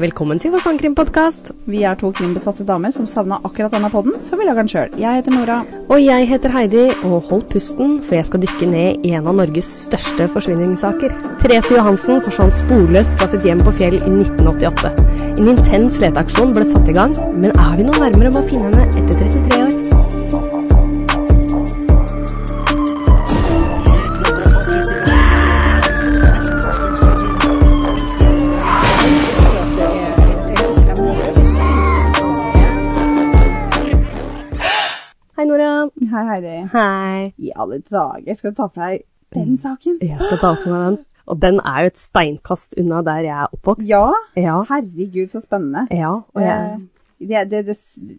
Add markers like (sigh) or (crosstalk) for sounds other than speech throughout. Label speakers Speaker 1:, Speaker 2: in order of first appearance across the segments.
Speaker 1: Velkommen til vår sangkrimpodkast.
Speaker 2: Vi er to krimbesatte damer som savna akkurat denne podden, så vi lager den sjøl. Jeg heter Nora.
Speaker 1: Og jeg heter Heidi, og hold pusten, for jeg skal dykke ned i en av Norges største forsvinningssaker. Therese Johansen forsvant sporløst fra sitt hjem på Fjell i 1988. En intens leteaksjon ble satt i gang, men er vi noe nærmere med å finne henne etter 33 år? Hei, Nora.
Speaker 2: Hei, Heidi.
Speaker 1: Hei.
Speaker 2: I alle dager, skal du ta for deg den saken?
Speaker 1: Jeg skal ta for meg den. Og den er jo et steinkast unna der jeg er oppvokst.
Speaker 2: Ja?
Speaker 1: Ja.
Speaker 2: Herregud, så spennende.
Speaker 1: Ja, og jeg...
Speaker 2: Eh, Det, det, det,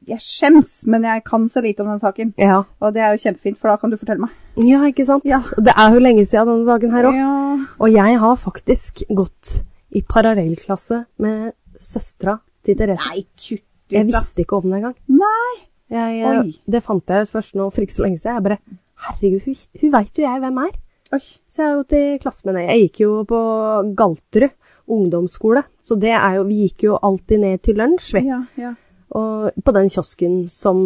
Speaker 2: jeg skjems, men jeg kan så lite om den saken.
Speaker 1: Ja.
Speaker 2: Og det er jo kjempefint, for da kan du fortelle meg.
Speaker 1: Eh. ja, ikke sant?
Speaker 2: Ja.
Speaker 1: Det er jo lenge siden denne dagen her òg.
Speaker 2: Ja.
Speaker 1: Og jeg har faktisk gått i parallellklasse med søstera til Therese.
Speaker 2: Nei, kutt ut,
Speaker 1: Jeg
Speaker 2: da.
Speaker 1: visste ikke om det engang.
Speaker 2: Nei.
Speaker 1: Jeg, eh,
Speaker 2: Oi.
Speaker 1: det fant jeg ut først nå for ikke så lenge siden. Jeg bare Herregud, hun, hun veit jo jeg hvem er.
Speaker 2: Oi.
Speaker 1: Så jeg har gått i klasse med henne. Jeg gikk jo på Galterud ungdomsskole. Så det er jo Vi gikk jo alltid ned til lunsj, vi.
Speaker 2: Ja, ja.
Speaker 1: Og på den kiosken som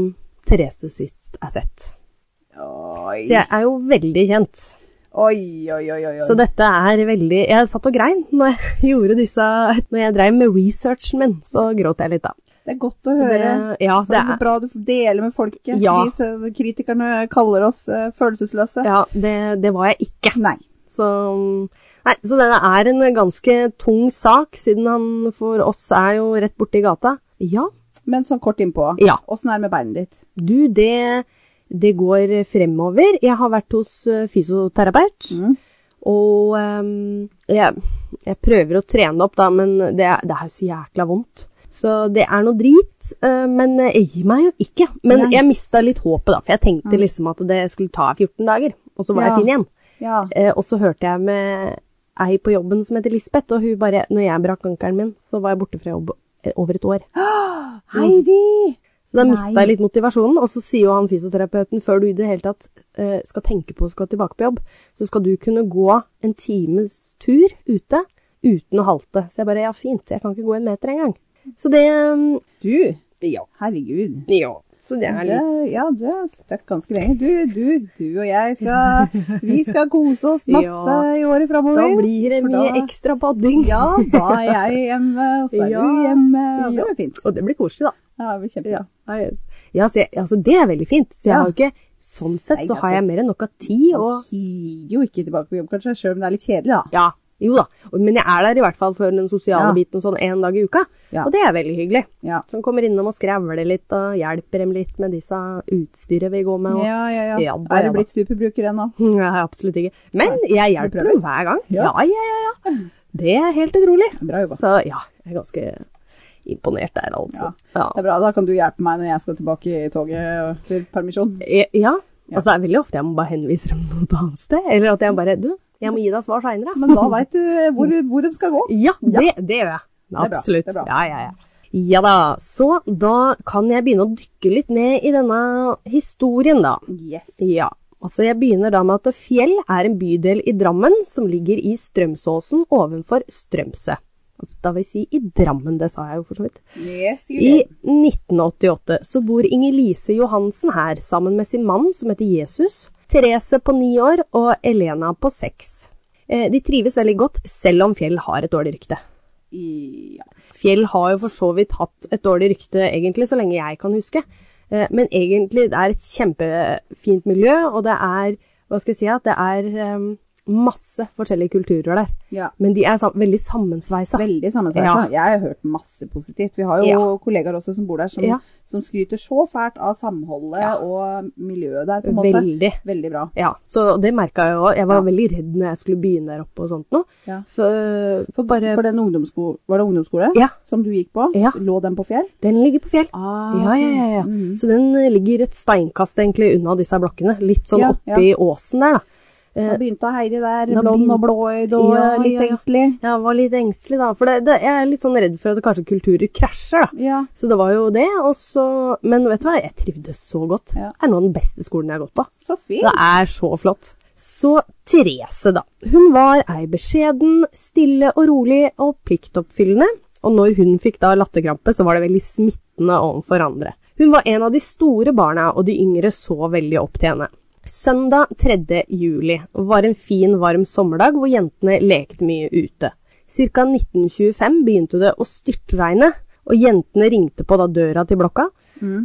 Speaker 1: Therese sist er sett.
Speaker 2: Oi.
Speaker 1: Så jeg er jo veldig kjent.
Speaker 2: Oi, oi, oi, oi. oi.
Speaker 1: Så dette er veldig Jeg satt og grein når jeg (laughs) gjorde disse Når jeg dreiv med researchen min, så gråt jeg litt, da.
Speaker 2: Det er godt å
Speaker 1: Så
Speaker 2: høre. Altså,
Speaker 1: det- ja,
Speaker 2: Det
Speaker 1: det
Speaker 2: er
Speaker 1: er
Speaker 2: bra du deler med folket.
Speaker 1: Ja.
Speaker 2: De som kritikerne kaller oss eh, følelsesløse.
Speaker 1: Ja, det, det var jeg ikke.
Speaker 2: Nei.
Speaker 1: Så Nei, så denne er en ganske tung sak, siden han for oss er jo rett borti gata. Ja.
Speaker 2: Men sånn kort innpå.
Speaker 1: Ja.
Speaker 2: Åssen er det med beinet ditt?
Speaker 1: Du, det, det går fremover. Jeg har vært hos eh, fysioterapeut,
Speaker 2: Mhm.
Speaker 1: og ehm, jeg, jeg prøver å trene det opp, da, men det, er- det er jo så jækla vondt. Så det er noe drit, eh, men jeg gir meg jo ikke. Men
Speaker 2: Nei. Mm.
Speaker 1: jeg mista litt håpet, da, for jeg tenkte liksom at det skulle ta 14 dager, og så var
Speaker 2: Ja.
Speaker 1: jeg fin igjen.
Speaker 2: Ja.
Speaker 1: Eh, og så hørte jeg med ei på jobben som heter Lisbeth, og hun bare Når jeg brakk ankelen min, så var jeg borte fra jobb eh, over et år. Mm.
Speaker 2: Heidi!
Speaker 1: Så da
Speaker 2: Nei.
Speaker 1: mista jeg litt motivasjonen, og så sier jo han fysioterapeuten før du i det hele tatt eh, skal tenke på å skal tilbake på jobb, så skal du kunne gå en times tur ute uten å halte. Så jeg bare ja, fint, jeg kan ikke gå en meter engang. Så det mm,
Speaker 2: Du,
Speaker 1: Ja.
Speaker 2: herregud.
Speaker 1: ja. Så det er
Speaker 2: Det,
Speaker 1: litt
Speaker 2: ja, du er støkk ganske lenge. Du, du, du og jeg skal Vi skal kose oss
Speaker 1: (laughs)
Speaker 2: masse
Speaker 1: Ja.
Speaker 2: i året
Speaker 1: Da
Speaker 2: framover.
Speaker 1: blir det
Speaker 2: for
Speaker 1: mye
Speaker 2: da-
Speaker 1: ekstra badding.
Speaker 2: Ja, da er jeg hjemme, og så er
Speaker 1: Ja.
Speaker 2: du hjemme. Og det
Speaker 1: Ja.
Speaker 2: blir fint.
Speaker 1: Og det blir koselig, da.
Speaker 2: Ja, det blir kjempebra.
Speaker 1: Ja, ja så jeg, altså det er veldig fint. Så jeg
Speaker 2: Ja.
Speaker 1: har jo ikke, sånn sett
Speaker 2: Nei,
Speaker 1: så har
Speaker 2: altså-
Speaker 1: jeg mer enn nok av tid. Og,
Speaker 2: Du higer jo ikke tilbake på jobb, kanskje, sjøl om det er litt kjedelig, da.
Speaker 1: ja, jo da. Og- Men jeg er der i hvert fall for den sosiale
Speaker 2: Ja.
Speaker 1: biten sånn en dag i uka.
Speaker 2: Ja.
Speaker 1: Og det er veldig hyggelig.
Speaker 2: Ja.
Speaker 1: Som kommer innom og skrevler litt og hjelper dem litt med disse utstyret vi går med. Og, (laughs)
Speaker 2: Ja, ja, ja.
Speaker 1: Ja, da,
Speaker 2: Er
Speaker 1: ja, da.
Speaker 2: du blitt superbruker ennå?
Speaker 1: Nei, absolutt ikke. Men jeg hjelper
Speaker 2: prøver.
Speaker 1: dem hver gang. Ja,
Speaker 2: Ja.
Speaker 1: ja, ja. ja. Det er helt utrolig.
Speaker 2: Bra jobba.
Speaker 1: Så ja, jeg er ganske imponert der, altså. Ja.
Speaker 2: Det er bra, da kan du hjelpe meg når jeg skal tilbake i toget og- til permisjon.
Speaker 1: Ja. Altså, det er veldig ofte jeg må bare henvise dem noe annet sted. Eller at jeg bare Du, jeg må gi deg svar seinere.
Speaker 2: Men da veit du eh, hvor, hvor de skal gå.
Speaker 1: Ja, det, det gjør jeg.
Speaker 2: bra,
Speaker 1: Absolutt.
Speaker 2: det er bra.
Speaker 1: Ja, ja, ja. Ja da, så da kan jeg begynne å dykke litt ned i denne historien, da.
Speaker 2: Yes.
Speaker 1: Ja. Altså, jeg begynner da med at Fjell er en bydel i Drammen som ligger i Strømsåsen ovenfor Strømsø. Altså, da vil jeg si i Drammen, det sa jeg jo for så vidt.
Speaker 2: Yes, you
Speaker 1: I
Speaker 2: did.
Speaker 1: 1988 så bor Inger-Lise Johansen her sammen med sin mann som heter Jesus, Therese på ni år og Elena på seks. Eh, De trives veldig godt, selv om Fjell har et dårlig rykte.
Speaker 2: I- ja.
Speaker 1: Fjell har jo for så vidt hatt et dårlig rykte, egentlig, så lenge jeg kan huske. Eh, Men egentlig, det er et kjempefint miljø, og det er, hva skal jeg si, at det er eh, masse forskjellige kulturer der.
Speaker 2: ja.
Speaker 1: Men de er sam veldig sammensveisa.
Speaker 2: Veldig
Speaker 1: Ja.
Speaker 2: sammensveisa. Jeg har hørt masse positivt. Vi har jo
Speaker 1: Ja.
Speaker 2: kollegaer også som bor der, som,
Speaker 1: Ja.
Speaker 2: som skryter så fælt av samholdet
Speaker 1: Ja.
Speaker 2: og miljøet der, på en måte.
Speaker 1: Veldig.
Speaker 2: Veldig bra.
Speaker 1: Ja, så det merka jeg òg. Jeg var
Speaker 2: Ja.
Speaker 1: veldig redd når jeg skulle begynne der oppe og sånt noe.
Speaker 2: Ja.
Speaker 1: For, for bare
Speaker 2: For den ungdomssko Var det ungdomsskole
Speaker 1: Ja,
Speaker 2: som du gikk på?
Speaker 1: Ja.
Speaker 2: Lå den på fjell?
Speaker 1: den ligger på fjell.
Speaker 2: Ah,
Speaker 1: Ja, ja, ja. ja.
Speaker 2: Mhm.
Speaker 1: Så den eh, ligger et steinkast egentlig unna disse blokkene. Litt sånn
Speaker 2: Ja,
Speaker 1: oppi åsen der, da.
Speaker 2: Da begynte Heidi der,
Speaker 1: Eh, Da
Speaker 2: blond
Speaker 1: begynte-
Speaker 2: og blåøyd og
Speaker 1: Ja,
Speaker 2: litt
Speaker 1: ja, ja.
Speaker 2: engstelig.
Speaker 1: Jeg var litt engstelig da, for det, det, jeg er litt sånn redd for at det kanskje kulturer krasjer, da.
Speaker 2: Ja.
Speaker 1: Så det var jo det, og så Men vet du hva, jeg trivdes så godt.
Speaker 2: Ja.
Speaker 1: Det er noe av den beste skolen jeg har gått på.
Speaker 2: Så fint.
Speaker 1: Det er så flott. Så Therese, da. Hun var ei beskjeden, stille og rolig og pliktoppfyllende, og når hun fikk da latterkrampe, så var det veldig smittende overfor andre. Hun var en av de store barna, og de yngre så veldig opp til henne. Søndag 3. juli var en fin, varm sommerdag hvor jentene lekte mye ute. Cirka 1925 begynte det å styrtregne, og jentene ringte på da døra til blokka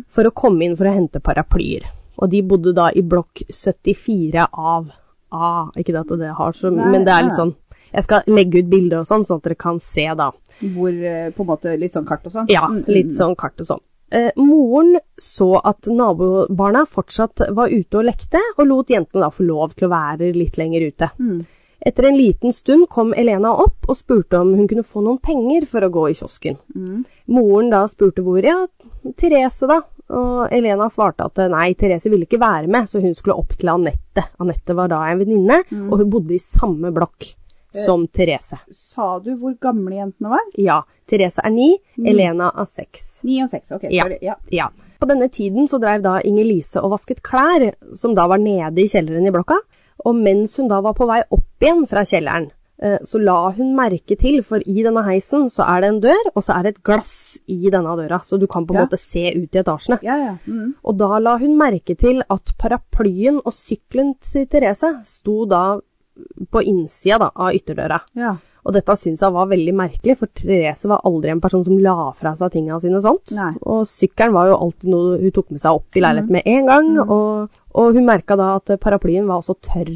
Speaker 1: for å komme inn for å hente paraplyer. Og de bodde da i blokk 74 av A. Ikke det at det har så
Speaker 2: Nei,
Speaker 1: Men det er
Speaker 2: nei.
Speaker 1: litt sånn Jeg skal legge ut bilder og sånn, sånn at dere kan se, da.
Speaker 2: Hvor eh, på en måte litt sånn kart og sånn?
Speaker 1: Ja,
Speaker 2: Mm,
Speaker 1: litt sånn kart og sånn. Eh, moren så at nabobarna fortsatt var ute og lekte, og lot jentene da få lov til å være litt lenger ute. Etter en liten stund kom Elena opp og spurte om hun kunne få noen penger for å gå i kiosken. Moren da spurte hvor, ja, Therese da, og Elena svarte at eh, nei, Therese ville ikke være med, så hun skulle opp til Anette. Anette var da en venninne, og hun bodde i samme blokk som Therese.
Speaker 2: Sa du hvor gamle jentene var?
Speaker 1: Ja, Therese er ni, Elena er seks.
Speaker 2: Ni og seks, ok.
Speaker 1: Ja.
Speaker 2: sorry, ja.
Speaker 1: Ja. På denne tiden så drev da Inger-Lise og vasket klær, som da var nede i kjelleren i blokka. Og mens hun da var på vei opp igjen fra kjelleren, eh, så la hun merke til, for i denne heisen så er det en dør, og så er det et glass i denne døra, så du kan på en
Speaker 2: Ja.
Speaker 1: måte se ut i etasjene.
Speaker 2: Ja, ja. Mm.
Speaker 1: Og da la hun merke til at paraplyen og sykkelen til Therese sto da på innsida da, av ytterdøra.
Speaker 2: ja.
Speaker 1: Og dette syntes jeg var veldig merkelig, for Therese var aldri en person som la fra seg tinga sine og sånt.
Speaker 2: Nei.
Speaker 1: Og sykkelen var jo alltid noe hun tok med seg opp i leiligheten med en gang, og, og hun merka da at paraplyen var også tørr.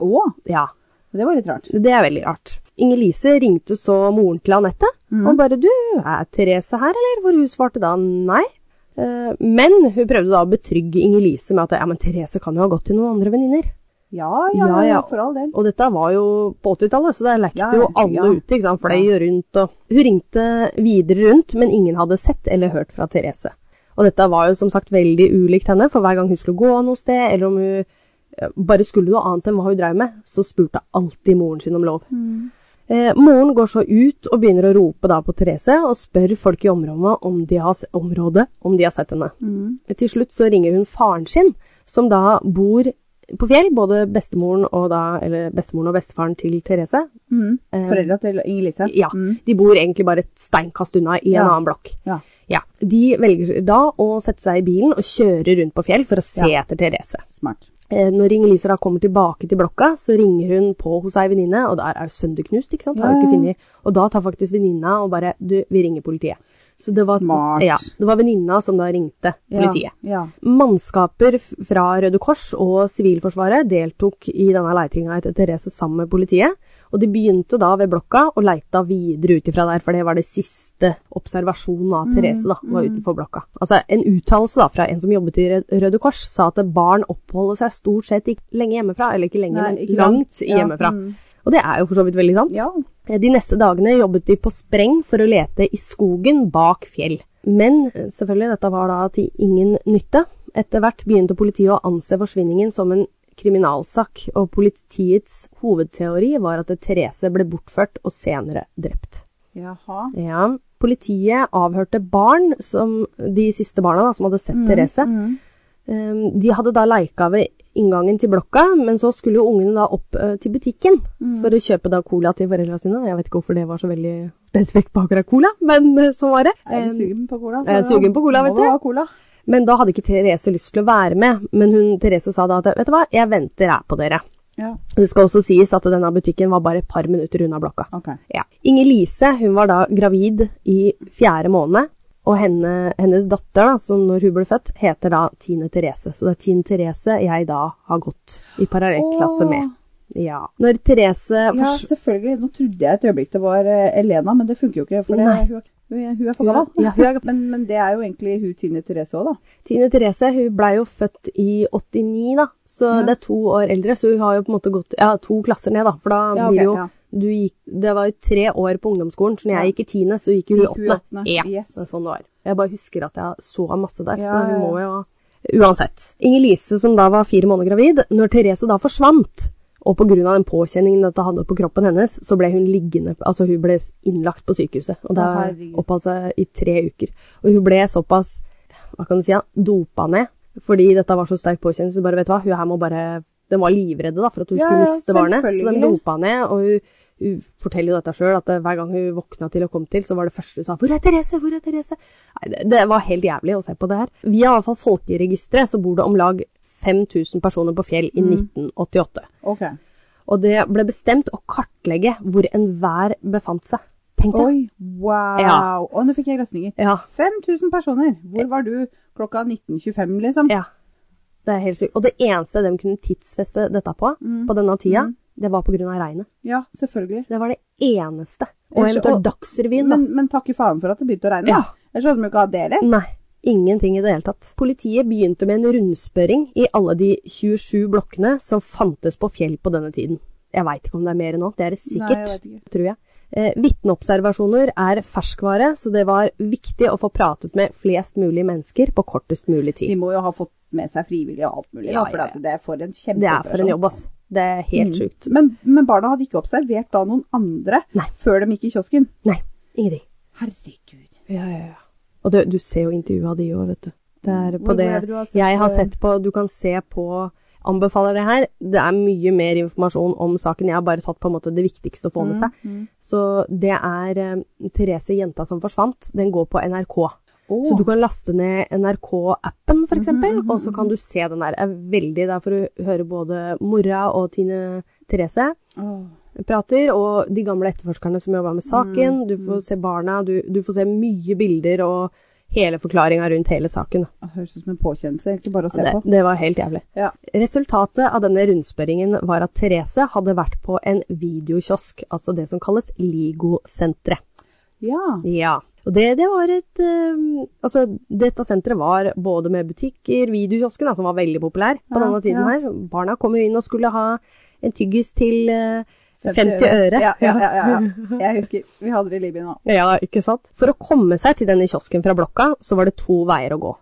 Speaker 2: Å,
Speaker 1: Ja,
Speaker 2: det var litt rart.
Speaker 1: det er veldig rart. Inger-Lise ringte så moren til Anette og bare 'Du, er Therese her, eller?' Hvor hun svarte da nei. Eh, Men hun prøvde da å betrygge Inger-Lise med at ja, men Therese kan jo ha gått til noen andre venninner.
Speaker 2: Ja, ja,
Speaker 1: Ja, ja.
Speaker 2: for all del.
Speaker 1: Og dette var jo på 80-tallet, så der lekte
Speaker 2: Ja,
Speaker 1: jo alle
Speaker 2: ja.
Speaker 1: ute. ikke sant? Fløy rundt og Hun ringte videre rundt, men ingen hadde sett eller hørt fra Therese. Og dette var jo som sagt veldig ulikt henne, for hver gang hun skulle gå noe sted, eller om hun eh, bare skulle noe annet enn hva hun drev med, så spurte alltid moren sin om lov.
Speaker 2: Mm.
Speaker 1: Eh, moren går så ut og begynner å rope da på Therese og spør folk i området om de har, se- området, om de har sett henne.
Speaker 2: Mm.
Speaker 1: Til slutt så ringer hun faren sin, som da bor på Fjell, både bestemoren og, da, eller bestemoren og bestefaren til Therese.
Speaker 2: Mm. Foreldra til Inger-Lise?
Speaker 1: Eh. Ja, De bor egentlig bare et steinkast unna i en
Speaker 2: Mm. Ja.
Speaker 1: annen blokk.
Speaker 2: Ja.
Speaker 1: Ja, De velger da å sette seg i bilen og kjøre rundt på Fjell for å se etter Therese.
Speaker 2: Smart.
Speaker 1: Eh, Når Inger-Lise da kommer tilbake til blokka, så ringer hun på hos ei venninne, og der er jo sønderknust, ikke sant? Har jo ikke funnet. Og da tar faktisk venninna og bare Du, vi ringer politiet. Så det var,
Speaker 2: Smart.
Speaker 1: Ja, det var venninna som da ringte politiet.
Speaker 2: Ja.
Speaker 1: Mannskaper f- fra Røde Kors og Sivilforsvaret deltok i denne leitinga etter Therese sammen med politiet, og de begynte da ved blokka og leita videre ut ifra der, for det var det siste observasjonen av
Speaker 2: Mm,
Speaker 1: Therese, da, var utenfor blokka. Altså, en uttalelse da fra en som jobbet i Rød- Røde Kors, sa at barn oppholder seg stort sett ikke lenge hjemmefra, eller ikke lenge,
Speaker 2: Nei,
Speaker 1: men
Speaker 2: ikke langt,
Speaker 1: langt
Speaker 2: ja,
Speaker 1: hjemmefra.
Speaker 2: mm.
Speaker 1: Og det er jo for så vidt veldig sant.
Speaker 2: Ja.
Speaker 1: Eh, De neste dagene jobbet de på spreng for å lete i skogen bak fjell. Men eh, selvfølgelig, dette var da til ingen nytte. Etter hvert begynte politiet å anse forsvinningen som en kriminalsak, og politiets hovedteori var at Therese ble bortført og senere drept.
Speaker 2: Jaha.
Speaker 1: Ja, Politiet avhørte barn, som, de siste barna da, som hadde sett Therese. Um, de hadde da leika ved inngangen til blokka, men så skulle jo ungene da opp eh, til butikken for å kjøpe da cola til foreldra sine. Jeg vet ikke hvorfor det var så veldig spesifikt på akkurat cola, men eh, sånn var det.
Speaker 2: Er du
Speaker 1: Um,
Speaker 2: sugen på cola? så
Speaker 1: jeg er sugen på cola, vet
Speaker 2: Må
Speaker 1: du.
Speaker 2: du ha cola?
Speaker 1: men da hadde ikke Therese lyst til å være med, men hun, Therese sa da at vet du hva, jeg venter her på dere.
Speaker 2: Ja.
Speaker 1: Det skal også sies at denne butikken var bare et par minutter unna blokka.
Speaker 2: Ok.
Speaker 1: Ja. Inger-Lise hun var da gravid i fjerde måned, og henne, hennes datter, da, som når hun ble født, heter da Tine Therese. Så det er Tine Therese jeg da har gått i parallellklasse
Speaker 2: Åh.
Speaker 1: med. Ja. Når Therese
Speaker 2: Ja,
Speaker 1: fors-
Speaker 2: selvfølgelig. Nå trodde jeg et øyeblikk det var eh, Elena, men det funker jo ikke. For det,
Speaker 1: Nei.
Speaker 2: hun, er, hun- hun er for gammel.
Speaker 1: Ja, hun er-
Speaker 2: (laughs) men, men det er jo egentlig hun Tine Therese òg, da.
Speaker 1: Tine Therese hun ble jo født i 89, da, så det er to år eldre. Så hun har jo på en måte gått ja, to klasser ned, da. For da
Speaker 2: Ja,
Speaker 1: blir
Speaker 2: ok,
Speaker 1: jo
Speaker 2: ja.
Speaker 1: du gikk, Det var jo tre år på ungdomsskolen, så når jeg gikk i tiende, så gikk hun i
Speaker 2: Gikk hun i
Speaker 1: åttende.
Speaker 2: åttende,
Speaker 1: Ja,
Speaker 2: yes.
Speaker 1: det er sånn det var. Jeg bare husker at jeg så masse der,
Speaker 2: Ja,
Speaker 1: så
Speaker 2: ja,
Speaker 1: hun
Speaker 2: ja.
Speaker 1: må jo ha Uansett. Inger-Lise, som da var fire måneder gravid, når Therese da forsvant, og pga. den påkjenningen dette hadde på kroppen hennes, så ble hun liggende Altså, hun ble innlagt på sykehuset, og da
Speaker 2: herregud.
Speaker 1: oppholdt seg i tre uker. Og hun ble såpass, hva kan du si, ja, dopa ned, fordi dette var så sterk påkjenning, så hun bare, vet du hva, hun her må bare Den var livredde, da, for at hun
Speaker 2: Ja,
Speaker 1: skulle
Speaker 2: ja,
Speaker 1: miste barnet, så den
Speaker 2: selvfølgelig.
Speaker 1: dopa ned, og hun Hun forteller jo dette sjøl, at eh, hver gang hun våkna til og kom til, så var det første hun sa 'Hvor er Therese? Hvor er Therese?' Nei, det, det var helt jævlig å se på det her. Via i hvert fall folkeregisteret så bor det om lag 5000 personer på Fjell
Speaker 2: Mm.
Speaker 1: i 1988.
Speaker 2: Ok.
Speaker 1: Og det ble bestemt å kartlegge hvor enhver befant seg. Tenk deg.
Speaker 2: Oi, wow.
Speaker 1: Ja.
Speaker 2: Og nå fikk jeg grøsninger.
Speaker 1: Ja,
Speaker 2: 5000 personer. Hvor var du klokka 19.25, liksom?
Speaker 1: ja. Det er helt sykt. Og det eneste de kunne tidsfeste dette på,
Speaker 2: Mm.
Speaker 1: på denne tida, det var pga. regnet.
Speaker 2: Ja, selvfølgelig.
Speaker 1: Det var det eneste. Og
Speaker 2: Ellers-
Speaker 1: eventuelt
Speaker 2: og-
Speaker 1: Dagsrevyen, da.
Speaker 2: Men, men takke faen for at det begynte å regne.
Speaker 1: Ja. Mm.
Speaker 2: da. Jeg skjønner jo ikke hva det heller.
Speaker 1: Nei, ingenting i det hele tatt. Politiet begynte med en rundspørring i alle de 27 blokkene som fantes på fjell på denne tiden. Jeg veit ikke om det er mer nå, det er det
Speaker 2: Nei, jeg
Speaker 1: sikkert,
Speaker 2: vet ikke.
Speaker 1: tror jeg. Eh, Vitneobservasjoner er ferskvare, så det var viktig å få pratet med flest mulig mennesker på kortest mulig tid.
Speaker 2: De må jo ha fått med seg frivillige og alt mulig.
Speaker 1: Ja,
Speaker 2: da, for
Speaker 1: ja,
Speaker 2: at det er for en kjempeoperasjon.
Speaker 1: Det er for en jobb, ass. Det er helt
Speaker 2: Mm.
Speaker 1: sjukt.
Speaker 2: Men, men barna hadde ikke observert da noen andre
Speaker 1: Nei.
Speaker 2: før de gikk i kiosken.
Speaker 1: Nei, ingenting.
Speaker 2: Herregud.
Speaker 1: Ja, ja, ja. Og du, du ser jo intervjua de òg, vet du. Det er på
Speaker 2: Hvor- hvor
Speaker 1: det
Speaker 2: er det du har sett
Speaker 1: jeg har
Speaker 2: på-
Speaker 1: sett på Du kan se på Anbefaler det her. Det er mye mer informasjon om saken. Jeg har bare tatt på en måte det viktigste å få
Speaker 2: Mm,
Speaker 1: med seg. Så det er eh, Therese Jenta som forsvant. Den går på NRK.
Speaker 2: Åh. Mhm,
Speaker 1: Så du kan laste ned NRK-appen, for eksempel, og så kan du se den der. Det er veldig der for å høre både mora og Tine Therese
Speaker 2: Åh.
Speaker 1: prater, og de gamle etterforskerne som jobber med saken.
Speaker 2: Mm,
Speaker 1: Du får se barna, du, du får se mye bilder og hele forklaringa rundt hele saken.
Speaker 2: Det høres ut som en påkjennelse. Egentlig bare å se
Speaker 1: Det,
Speaker 2: på.
Speaker 1: det var helt jævlig.
Speaker 2: Ja.
Speaker 1: Resultatet av denne rundspørringen var at Therese hadde vært på en videokiosk, altså det som kalles LIGO-senteret.
Speaker 2: ja.
Speaker 1: Ja. Og det, det var et eh, Altså, dette senteret var både med butikker, videokiosken, da, som var veldig populær på
Speaker 2: Ja,
Speaker 1: denne tiden
Speaker 2: ja.
Speaker 1: her. Barna kom jo inn og skulle ha en tyggis til eh, 50 øre.
Speaker 2: Ja, ja, ja, ja. Jeg husker. Vi hadde det i Libya nå.
Speaker 1: Ja, ikke sant? For å komme seg til denne kiosken fra blokka, så var det to veier å gå.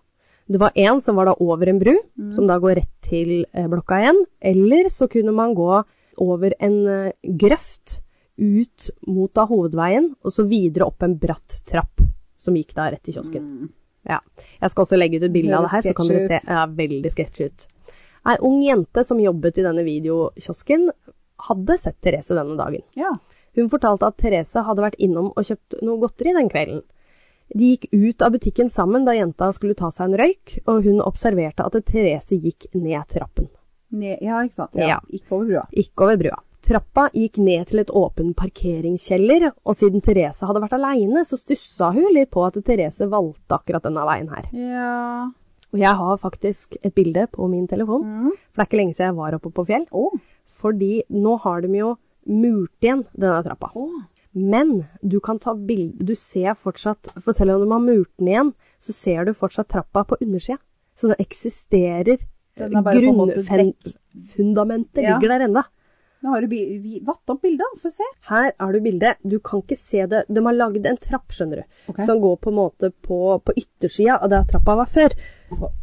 Speaker 1: Det var en som var da over en bru, som da går rett til eh, blokka igjen. Eller så kunne man gå over en eh, grøft ut mot da hovedveien, og så videre opp en bratt trapp som gikk da rett til kiosken. Ja. Jeg skal også legge ut et bilde av det her, så kan dere se.
Speaker 2: Veldig sketchy ut.
Speaker 1: Ja, veldig sketsj ut. Ei ung jente som jobbet i denne videokiosken, hadde sett Therese denne dagen.
Speaker 2: Ja.
Speaker 1: Hun fortalte at Therese hadde vært innom og kjøpt noe godteri den kvelden. De gikk ut av butikken sammen da jenta skulle ta seg en røyk, og hun observerte at Therese gikk ned trappen,
Speaker 2: Ned, ja, ikke sant. Ja.
Speaker 1: Ja.
Speaker 2: Ikke over brua.
Speaker 1: ikke over brua. Trappa gikk ned til et åpen parkeringskjeller, og siden Therese hadde vært aleine, så stussa hun litt på at Therese valgte akkurat denne veien her.
Speaker 2: Ja. Mm.
Speaker 1: Og jeg har faktisk et bilde på min telefon, for det er ikke lenge siden jeg var oppe på fjell,
Speaker 2: Åh.
Speaker 1: fordi nå har de jo murt igjen denne trappa.
Speaker 2: Åh.
Speaker 1: Men du kan ta bilder Du ser fortsatt For selv om de har murt den igjen, så ser du fortsatt trappa på undersida. Så den eksisterer.
Speaker 2: Den er bare på en måte
Speaker 1: Grunnfen- Fundamentet
Speaker 2: Ja.
Speaker 1: ligger der enda.
Speaker 2: Nå har du bi- vi- vatt opp bildet, da. få se.
Speaker 1: Her har du bildet. Du kan ikke se det. De har lagd en trapp, skjønner du,
Speaker 2: Ok.
Speaker 1: som går på en måte på, på yttersida av der trappa var før.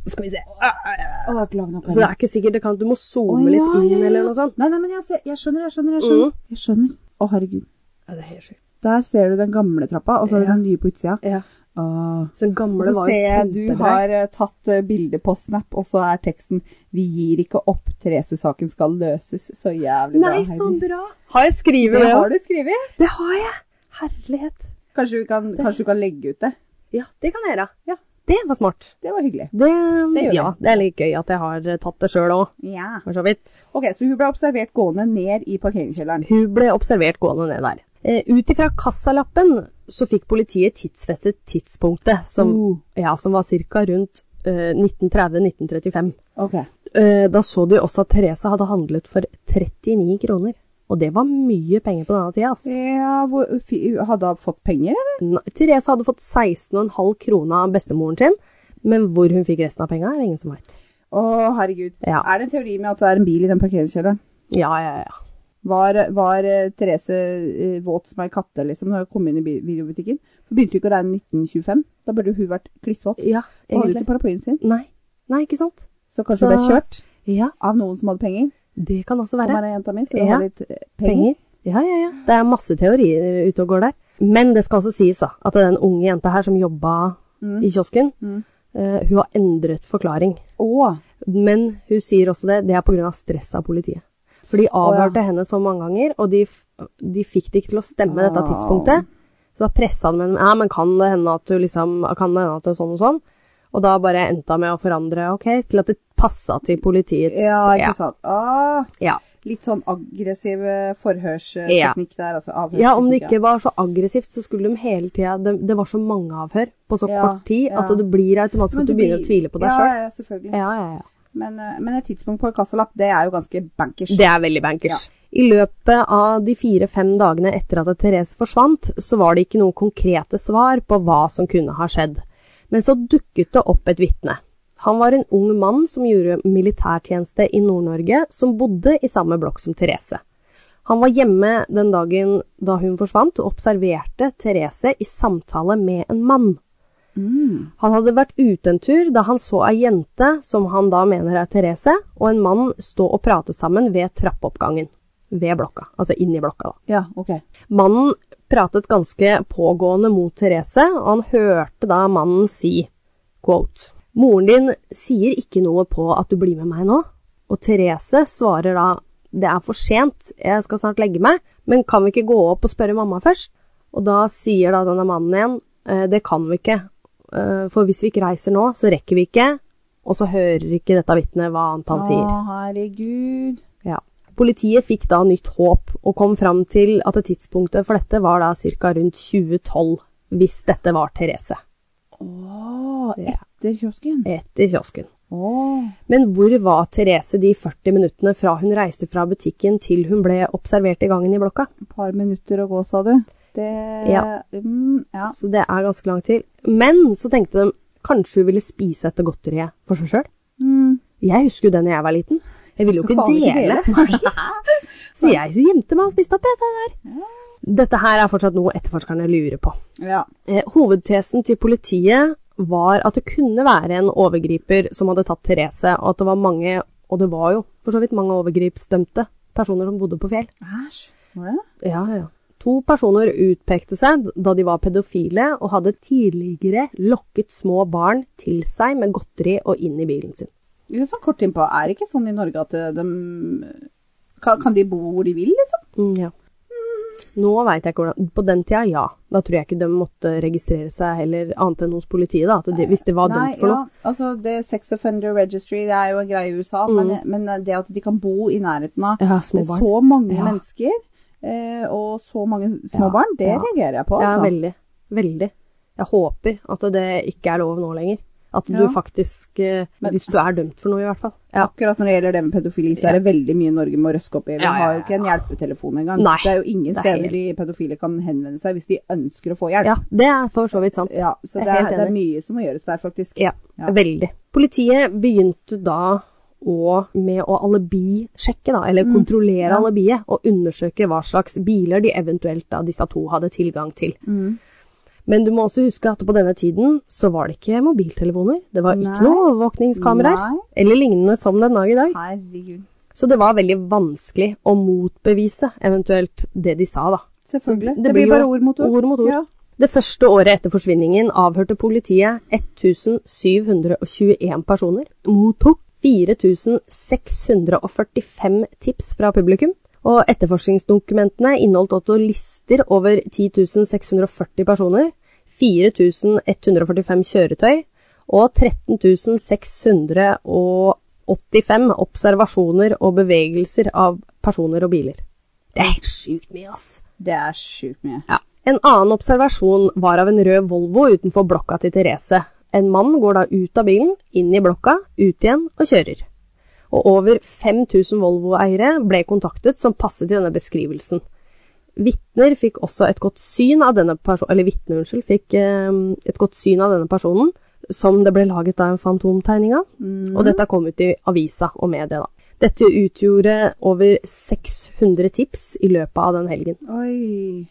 Speaker 1: Skal vi se.
Speaker 2: Åh, jeg har ikke laget noe
Speaker 1: Så det er ikke sikkert det kan, Du må zoome
Speaker 2: Å, ja,
Speaker 1: litt inn
Speaker 2: ja, ja.
Speaker 1: eller noe sånt.
Speaker 2: Nei, nei, men jeg, ser, jeg skjønner, jeg skjønner. Jeg skjønner. Jeg skjønner. Å, herregud.
Speaker 1: Ja, det er helt sjukt.
Speaker 2: Der ser du den gamle trappa, og så har du den nye på utsida.
Speaker 1: Ja.
Speaker 2: Åh.
Speaker 1: Så den gamle
Speaker 2: Så
Speaker 1: var
Speaker 2: ser
Speaker 1: jo
Speaker 2: jeg du
Speaker 1: kjempebra.
Speaker 2: har eh, tatt eh, bilde på Snap, og så er teksten 'Vi gir ikke opp, Therese-saken skal løses'. Så jævlig bra.
Speaker 1: Nei,
Speaker 2: Heidi.
Speaker 1: så bra! Har jeg skrevet
Speaker 2: Det
Speaker 1: det òg?
Speaker 2: har du skrevet.
Speaker 1: Det har jeg! Herlighet.
Speaker 2: Kanskje, vi kan, kanskje du kan legge ut det.
Speaker 1: Ja, det kan jeg gjøre.
Speaker 2: Ja.
Speaker 1: Det var smart.
Speaker 2: Det var hyggelig.
Speaker 1: Det,
Speaker 2: Det gjør
Speaker 1: ja, det er litt gøy at jeg har eh, tatt det sjøl òg,
Speaker 2: Ja.
Speaker 1: for så vidt.
Speaker 2: Ok, Så hun ble observert gående ned i parkeringskjelleren.
Speaker 1: Hun ble observert gående ned der. Eh, Ut ifra kassalappen så fikk politiet tidsfestet tidspunktet, som,
Speaker 2: Uh.
Speaker 1: ja, som var ca. rundt eh, 1930-1935.
Speaker 2: Ok.
Speaker 1: Eh, Da så de også at Therese hadde handlet for 39 kroner. Og det var mye penger på denne tida. Altså.
Speaker 2: Ja, hvor, fi- Hadde hun fått penger, eller?
Speaker 1: Therese hadde fått 16,5 kroner av bestemoren sin, men hvor hun fikk resten av penga, er det ingen som veit.
Speaker 2: Å, herregud.
Speaker 1: Ja.
Speaker 2: Er det en teori med at det er en bil i den parkeringskjelleren?
Speaker 1: Ja, ja, ja.
Speaker 2: Var, var eh, Therese eh, våt som ei katte liksom, når hun kom inn i bi- videobutikken? For begynte jo ikke å regne 1925. Da burde hun vært klissvåt.
Speaker 1: Ja,
Speaker 2: Og hadde
Speaker 1: egentlig.
Speaker 2: ikke paraplyen sin.
Speaker 1: Nei. Nei, ikke sant?
Speaker 2: Så kanskje
Speaker 1: Så-
Speaker 2: hun ble kjørt
Speaker 1: Ja,
Speaker 2: av noen som hadde penger.
Speaker 1: det kan også
Speaker 2: Som
Speaker 1: være.
Speaker 2: er ei jenta mi, skulle
Speaker 1: Ja.
Speaker 2: ha litt eh, penger.
Speaker 1: Penger. Ja, ja, ja. Det er masse teorier ute og går der. Men det skal også sies da, at den unge jenta her som jobba i kiosken, eh, hun har endret forklaring.
Speaker 2: Å,
Speaker 1: Men hun sier også det, det er pga. stress av politiet. For de avhørte henne så mange ganger, og de f- de fikk det ikke til å stemme
Speaker 2: Ah.
Speaker 1: dette tidspunktet. Så da pressa han med ja, men kan det hende at du liksom Kan det hende at det er sånn og sånn? Og da bare endte han med å forandre ok, til at det passa til politiets
Speaker 2: Ja, ikke sant. Ah,
Speaker 1: ja.
Speaker 2: litt sånn aggressiv eh,
Speaker 1: Ja.
Speaker 2: forhørsteknikk der, altså. avhørsteknikk,
Speaker 1: Ja, om det ikke var så aggressivt, så skulle de hele tida det, det var så mange avhør på så
Speaker 2: Ja,
Speaker 1: kort tid at
Speaker 2: ja.
Speaker 1: det blir automatisk
Speaker 2: Men
Speaker 1: at du begynner å tvile på deg
Speaker 2: ja,
Speaker 1: sjøl.
Speaker 2: Ja, selvfølgelig.
Speaker 1: Ja, ja, ja.
Speaker 2: Men, eh, men et tidspunkt på en kassalapp, det er jo ganske bankers.
Speaker 1: Det er veldig bankers. I løpet av de fire-fem dagene etter at Therese forsvant, så var det ikke noen konkrete svar på hva som kunne ha skjedd. Men så dukket det opp et vitne. Han var en ung mann som gjorde militærtjeneste i Nord-Norge, som bodde i samme blokk som Therese. Han var hjemme den dagen da hun forsvant, og observerte Therese i samtale med en mann. Han hadde vært ute en tur da han så ei jente, som han da mener er Therese, og en mann stå og prate sammen ved trappeoppgangen. Ved blokka, altså inn i blokka. da.
Speaker 2: Ja, ok.
Speaker 1: Mannen pratet ganske pågående mot Therese, og han hørte da mannen si, quote, Moren din sier ikke noe på at du blir med meg nå. Og Therese svarer da, det er for sent, jeg skal snart legge meg, men kan vi ikke gå opp og spørre mamma først? Og da sier da denne mannen igjen, «Eh, det kan vi ikke, Eh, for hvis vi ikke reiser nå, så rekker vi ikke, og så hører ikke dette vitnet hva annet han sier.
Speaker 2: Å, herregud.
Speaker 1: Ja. Politiet fikk da nytt håp, og kom fram til at tidspunktet for dette var da ca. rundt 2012, hvis dette var Therese,
Speaker 2: Å,
Speaker 1: Ja.
Speaker 2: etter kiosken.
Speaker 1: etter kiosken.
Speaker 2: Å,
Speaker 1: Men hvor var Therese de 40 minuttene fra hun reiste fra butikken til hun ble observert i gangen i blokka?
Speaker 2: et par minutter å gå, sa du. Det
Speaker 1: Ja.
Speaker 2: Mm, ja.
Speaker 1: Så det er ganske lang tid. Men så tenkte de, kanskje hun ville spise dette godteriet for seg sjøl?
Speaker 2: Mm.
Speaker 1: Jeg husker jo det når jeg var liten. Jeg ville jo
Speaker 2: Skal
Speaker 1: ikke
Speaker 2: faen ikke
Speaker 1: dele. (laughs) så jeg gjemte meg og spiste opp jeg, det der. Dette her er fortsatt noe etterforskerne lurer på.
Speaker 2: ja.
Speaker 1: Eh, Hovedtesen til politiet var at det kunne være en overgriper som hadde tatt Therese, og at det var mange, og det var jo for så vidt mange overgripsdømte personer som bodde på fjell.
Speaker 2: Æsj. Var det?
Speaker 1: Ja, ja. To personer utpekte seg da de var pedofile og hadde tidligere lokket små barn til seg med godteri og inn i bilen sin.
Speaker 2: Litt sånn kort innpå, er det ikke sånn i Norge at eh, de kan, kan de bo hvor de vil, liksom?
Speaker 1: Mm, ja. Nå veit jeg ikke hvordan På den tida, ja. Da tror jeg ikke de måtte registrere seg heller, annet enn hos politiet, da, at de, hvis de var
Speaker 2: Nei,
Speaker 1: dømt for noe.
Speaker 2: Ja, altså det Sex Offender Registry det er jo en greie i USA, men, men det at de kan bo i nærheten av
Speaker 1: Ja, Mm. små barn.
Speaker 2: så mange
Speaker 1: Ja.
Speaker 2: mennesker eh, og så mange
Speaker 1: Ja,
Speaker 2: små barn, det
Speaker 1: ja.
Speaker 2: reagerer jeg på.
Speaker 1: Ja,
Speaker 2: Altså.
Speaker 1: veldig. Veldig. Jeg håper at det ikke er lov nå lenger. At du
Speaker 2: Ja.
Speaker 1: faktisk eh,
Speaker 2: Men-
Speaker 1: Hvis du er dømt for noe, i hvert fall. Ja.
Speaker 2: Akkurat når det gjelder det med pedofili, så er det veldig mye Norge må røske opp i. Vi
Speaker 1: Ja, ja, ja,
Speaker 2: har jo ikke en hjelpetelefon engang.
Speaker 1: Nei,
Speaker 2: det er jo ingen
Speaker 1: det er
Speaker 2: steder
Speaker 1: helt-
Speaker 2: de pedofile kan henvende seg hvis de ønsker å få hjelp.
Speaker 1: ja, det er for så vidt sant.
Speaker 2: Ja, så
Speaker 1: Jeg
Speaker 2: det
Speaker 1: er
Speaker 2: er,
Speaker 1: helt
Speaker 2: det er
Speaker 1: enig.
Speaker 2: mye som må gjøres der, faktisk.
Speaker 1: Ja,
Speaker 2: Ja.
Speaker 1: veldig. Politiet begynte da å, med å alibisjekke, da,
Speaker 2: Mm.
Speaker 1: eller kontrollere alibiet, og undersøke hva slags biler de eventuelt da disse to hadde tilgang til.
Speaker 2: Mm.
Speaker 1: Men du må også huske at på denne tiden så var det ikke mobiltelefoner, det var
Speaker 2: Nei.
Speaker 1: ikke noe overvåkningskameraer,
Speaker 2: Nei.
Speaker 1: eller lignende som den dag i dag.
Speaker 2: Herregud.
Speaker 1: Så det var veldig vanskelig å motbevise eventuelt det de sa, da.
Speaker 2: Selvfølgelig.
Speaker 1: det
Speaker 2: Det,
Speaker 1: blir
Speaker 2: blir bare
Speaker 1: jo
Speaker 2: ord mot ord.
Speaker 1: ord mot ord.
Speaker 2: Ja.
Speaker 1: Det første året etter forsvinningen avhørte politiet 1721 personer, mottok 4645 tips fra publikum, og etterforskningsdokumentene inneholdt også lister over 10640 personer, 4145 kjøretøy og 13685 observasjoner og bevegelser av personer og biler. Det er helt sjukt mye, ass!
Speaker 2: Det er sjukt mye.
Speaker 1: Ja. En annen observasjon var av en rød Volvo utenfor blokka til Therese. En mann går da ut av bilen, inn i blokka, ut igjen og kjører. Og over 5000 Volvo-eiere ble kontaktet som passet til denne beskrivelsen. Vitner fikk også et godt syn av denne personen, eller vitner, unnskyld, fikk eh, et godt syn av denne personen, som det ble laget da en fantomtegning av. Og dette kom ut i avisa og media, da. Dette utgjorde over 600 tips i løpet av den helgen.
Speaker 2: Oi.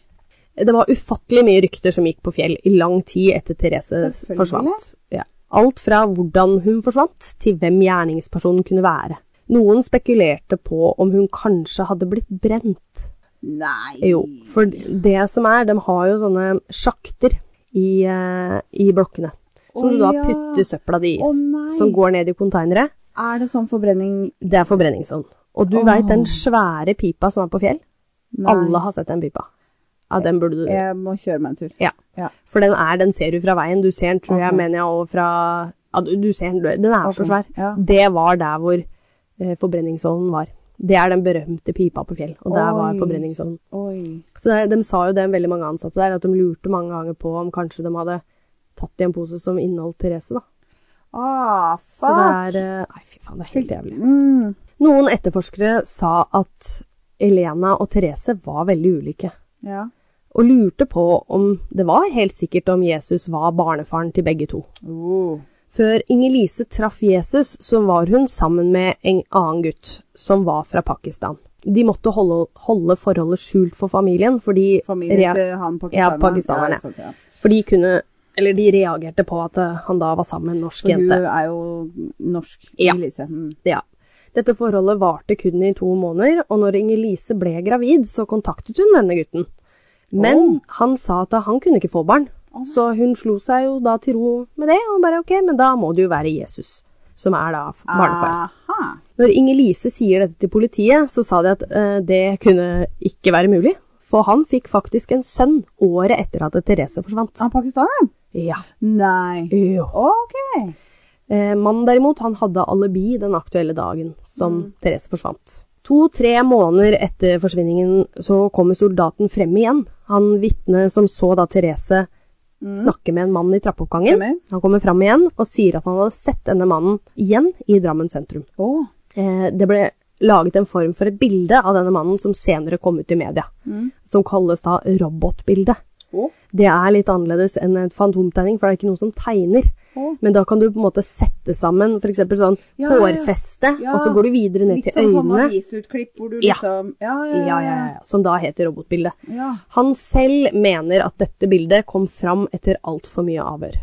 Speaker 1: Det var ufattelig mye rykter som gikk på fjell i lang tid etter Therese
Speaker 2: Selvfølgelig.
Speaker 1: forsvant. Ja. Alt fra hvordan hun forsvant, til hvem gjerningspersonen kunne være. Noen spekulerte på om hun kanskje hadde blitt brent.
Speaker 2: Nei.
Speaker 1: Jo, for det som er, de har jo sånne sjakter i, eh, i blokkene. Som
Speaker 2: Å
Speaker 1: du da
Speaker 2: ja.
Speaker 1: putter søpla di i,
Speaker 2: Å nei.
Speaker 1: som går ned i konteinere.
Speaker 2: Er det sånn forbrenning
Speaker 1: Det er forbrenningsovn. Og du
Speaker 2: Åh.
Speaker 1: veit den svære pipa som er på fjell?
Speaker 2: Nei.
Speaker 1: Alle har sett den pipa. Ja, den burde du
Speaker 2: Jeg må kjøre meg en tur.
Speaker 1: Ja.
Speaker 2: Ja.
Speaker 1: For den er, den ser du fra veien. Du ser den, tror jeg,
Speaker 2: Ok.
Speaker 1: mener jeg, og fra ja, du, du ser den, den er så
Speaker 2: Ok,
Speaker 1: svær.
Speaker 2: ja.
Speaker 1: Det var der hvor eh, forbrenningsovnen var. Det er den berømte pipa på fjell, og der var
Speaker 2: Oi.
Speaker 1: forbrenningsovnen.
Speaker 2: Oi.
Speaker 1: Så det- de sa jo det, veldig mange ansatte der, at de lurte mange ganger på om kanskje de hadde tatt i en pose som inneholdt Therese, da.
Speaker 2: Ah,
Speaker 1: Så
Speaker 2: fuck!
Speaker 1: det er eh, Nei, fy faen, det er helt jævlig.
Speaker 2: Mm.
Speaker 1: Noen etterforskere sa at Elena og Therese var veldig ulike.
Speaker 2: Ja.
Speaker 1: og lurte på om det var helt sikkert om Jesus var barnefaren til begge to.
Speaker 2: Oh.
Speaker 1: Før Inger-Lise traff Jesus, så var hun sammen med en annen gutt, som var fra Pakistan. De måtte holde, holde forholdet skjult for familien, fordi,
Speaker 2: Familien
Speaker 1: rea
Speaker 2: til han pakistaneren.
Speaker 1: Ja, pakistaneren, ja.
Speaker 2: ikke sant, ja.
Speaker 1: for de, kunne, eller de reagerte på at eh, han da var sammen med en norsk
Speaker 2: For hun
Speaker 1: jente.
Speaker 2: er jo norsk,
Speaker 1: Ja.
Speaker 2: Elise. Mm.
Speaker 1: Ja. Dette forholdet varte kun i to måneder, og når Inger-Lise ble gravid, så kontaktet hun denne gutten. Men han sa at han kunne ikke få barn, så hun slo seg jo da til ro med det, og bare ok, men da må det jo være Jesus, som er da
Speaker 2: Ah.
Speaker 1: f- barnefar.
Speaker 2: Aha.
Speaker 1: Når Inger-Lise sier dette til politiet, så sa de at eh, det kunne ikke være mulig, for han fikk faktisk en sønn året etter at Therese forsvant.
Speaker 2: Han pakistaneren?
Speaker 1: Ja.
Speaker 2: Nei.
Speaker 1: Jo.
Speaker 2: Ok.
Speaker 1: Eh, Mannen derimot, han hadde alibi den aktuelle dagen som Therese forsvant. To-tre måneder etter forsvinningen så kommer soldaten frem igjen. Han vitnet som så da Therese snakke med en mann i trappeoppgangen.
Speaker 2: Stemmer.
Speaker 1: Han kommer frem igjen og sier at han hadde sett denne mannen igjen i Drammen sentrum.
Speaker 2: Å.
Speaker 1: Eh, det ble laget en form for et bilde av denne mannen som senere kom ut i media,
Speaker 2: Mm.
Speaker 1: som kalles da robotbildet.
Speaker 2: Å.
Speaker 1: Det er litt annerledes enn en fantomtegning, for det er ikke noen som tegner.
Speaker 2: Å.
Speaker 1: Men da kan du på en måte sette sammen f.eks. sånn
Speaker 2: Ja, ja, ja.
Speaker 1: hårfeste,
Speaker 2: Ja.
Speaker 1: og så går du videre ned til
Speaker 2: Litt som sånn
Speaker 1: øynene.
Speaker 2: avisutklipp hvor du
Speaker 1: Ja.
Speaker 2: liksom Ja,
Speaker 1: Ja, ja, ja, ja, som da heter robotbildet.
Speaker 2: ja.
Speaker 1: Han selv mener at dette bildet kom fram etter altfor mye avhør.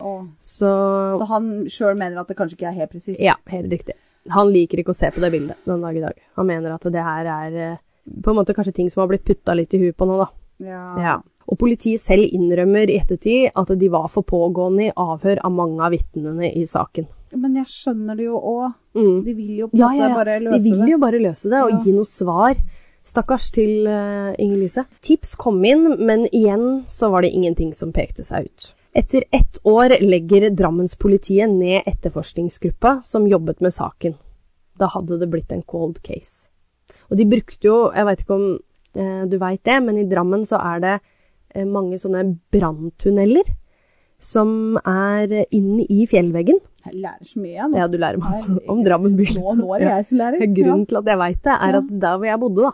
Speaker 2: Å.
Speaker 1: Så
Speaker 2: Så han sjøl mener at det kanskje ikke er helt presist?
Speaker 1: ja, helt riktig. Han liker ikke å se på det bildet den dag i dag. Han mener at det her er eh, på en måte kanskje ting som har blitt putta litt i huet på nå, da.
Speaker 2: Ja.
Speaker 1: Ja. Og politiet selv innrømmer i ettertid at de var for pågående i avhør av mange av vitnene i saken.
Speaker 2: Men jeg skjønner det jo òg.
Speaker 1: Mm.
Speaker 2: De vil jo på en
Speaker 1: Ja,
Speaker 2: måte
Speaker 1: ja, ja.
Speaker 2: bare
Speaker 1: De
Speaker 2: løse
Speaker 1: vil
Speaker 2: det.
Speaker 1: jo bare løse det og
Speaker 2: Ja.
Speaker 1: gi noe svar. Stakkars til eh, Inger-Lise. Tips kom inn, men igjen så var det ingenting som pekte seg ut. Etter ett år legger Drammenspolitiet ned etterforskningsgruppa som jobbet med saken. Da hadde det blitt en cold case. Og de brukte jo, jeg veit ikke om eh, du veit det, men i Drammen så er det eh, mange sånne branntunneler som er inne i fjellveggen.
Speaker 2: Jeg lærer så mye, jeg nå.
Speaker 1: Ja, du lærer masse
Speaker 2: Herregud.
Speaker 1: om Drammen by.
Speaker 2: Nå,
Speaker 1: liksom.
Speaker 2: nå er det
Speaker 1: Ja.
Speaker 2: jeg som lærer.
Speaker 1: Grunnen til at jeg veit det, er
Speaker 2: Ja. Mm.
Speaker 1: at der hvor jeg bodde, da,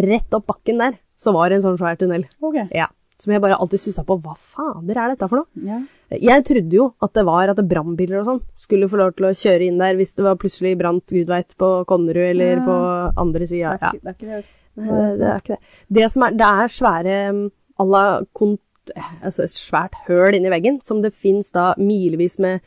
Speaker 1: rett opp bakken der, så var det en sånn svær tunnel.
Speaker 2: Ja. Ok.
Speaker 1: Ja. Som jeg bare alltid stussa på. Hva fader er dette for noe?
Speaker 2: Ja.
Speaker 1: Jeg trodde jo at det var at brannbiler og sånn skulle få lov til å kjøre inn der hvis det var plutselig brant gud veit på Konnerud eller
Speaker 2: Ja.
Speaker 1: på andre
Speaker 2: Det,
Speaker 1: sida.
Speaker 2: er
Speaker 1: Ja.
Speaker 2: ikke, det er ikke det.
Speaker 1: Nei, Det, det er ikke det. Det som er Det er svære mm, à la kon- eh, Altså et svært høl inni veggen som det fins da milevis med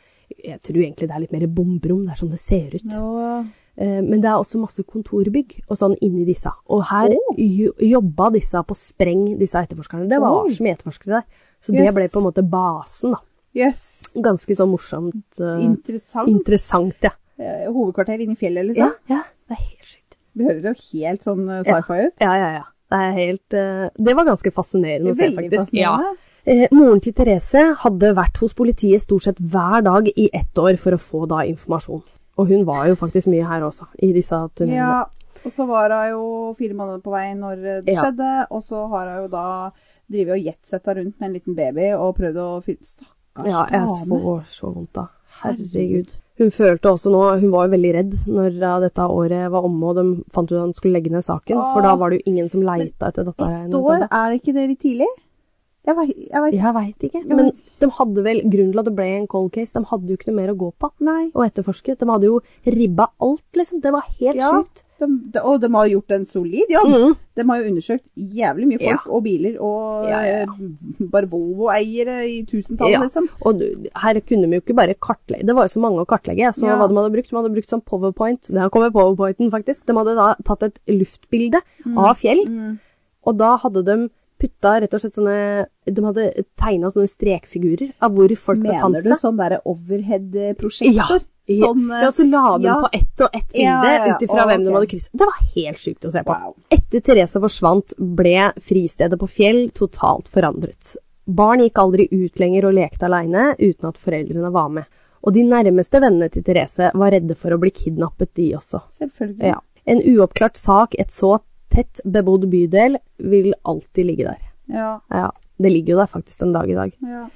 Speaker 1: Jeg tror egentlig det er litt mer bomberom. Det er sånn det ser ut.
Speaker 2: Nå-
Speaker 1: Eh, Men det er også masse kontorbygg og sånn inni disse. Og her jo- jobba disse på spreng, disse etterforskerne. Det var
Speaker 2: Oi.
Speaker 1: så mye etterforskere der. Så det
Speaker 2: Yes.
Speaker 1: ble på en måte basen, da.
Speaker 2: Yes.
Speaker 1: Ganske sånn morsomt. eh,
Speaker 2: Interessant.
Speaker 1: interessant, ja.
Speaker 2: Eh, Hovedkvarter inne i fjellet,
Speaker 1: ja.
Speaker 2: liksom.
Speaker 1: Ja, det er helt sykt.
Speaker 2: Det høres jo helt sånn eh, sci-fi ut.
Speaker 1: Ja, ja, ja. Det er helt eh, Det var ganske fascinerende å se,
Speaker 2: Veldig
Speaker 1: faktisk. Ja.
Speaker 2: fascinerende.
Speaker 1: Eh, moren til Therese hadde vært hos politiet stort sett hver dag i ett år for å få da informasjon. Og hun var jo faktisk mye her også, i disse tunnelene.
Speaker 2: Ja, og så var hun jo fire måneder på vei når eh, det
Speaker 1: Ja.
Speaker 2: skjedde, og så har hun jo da drevet og jetsetta rundt med en liten baby og prøvd å finne Stakkars
Speaker 1: Ja, jeg
Speaker 2: dame.
Speaker 1: får så vondt da. Herregud. Hun følte også nå, hun var jo veldig redd når eh, dette året var omme og de fant ut at de skulle legge ned saken, for da var det jo ingen som leita etter dattera
Speaker 2: Ett år, er ikke det litt tidlig? Jeg veit jeg vet-
Speaker 1: Jeg veit ikke, men de hadde vel grunnen til at det ble en cold case, de hadde jo ikke noe mer å gå på
Speaker 2: Nei.
Speaker 1: og etterforske. De hadde jo ribba alt, liksom. Det var helt
Speaker 2: Ja.
Speaker 1: sjukt.
Speaker 2: De, de, og de har gjort en solid jobb.
Speaker 1: Mhm.
Speaker 2: De har jo undersøkt jævlig mye folk og biler og
Speaker 1: Ja, ja, ja.
Speaker 2: eh, bare Volvo-eiere i tusentall,
Speaker 1: Ja.
Speaker 2: liksom.
Speaker 1: Og du- her kunne de jo ikke bare kartlegge Det var jo så mange å kartlegge. Jeg så
Speaker 2: Ja.
Speaker 1: hva de hadde brukt. De hadde brukt sånn powerpoint. Der kommer powerpointen, faktisk. De hadde da tatt et luftbilde
Speaker 2: Mm.
Speaker 1: av fjell, og da hadde de putta rett og slett sånne De hadde tegna sånne strekfigurer av hvor folk
Speaker 2: Mener
Speaker 1: befant
Speaker 2: du
Speaker 1: seg.
Speaker 2: sånn derre overhead-prosjektor?
Speaker 1: Ja,
Speaker 2: Sånn eh,
Speaker 1: Ja, så la de
Speaker 2: Ja.
Speaker 1: på ett og ett
Speaker 2: Ja,
Speaker 1: bilde
Speaker 2: ja, ja.
Speaker 1: ut ifra
Speaker 2: Å,
Speaker 1: hvem de
Speaker 2: ok.
Speaker 1: hadde krysset. Det var helt sjukt å se på.
Speaker 2: Wow.
Speaker 1: Etter Therese forsvant, ble fristedet på Fjell totalt forandret. Barn gikk aldri ut lenger og lekte aleine uten at foreldrene var med. Og de nærmeste vennene til Therese var redde for å bli kidnappet, de også.
Speaker 2: Selvfølgelig.
Speaker 1: Ja. En uoppklart sak et så tett bebodd bydel vil alltid ligge der.
Speaker 2: Ja,
Speaker 1: Ja, det ligger jo der faktisk den dag i dag.
Speaker 2: ja.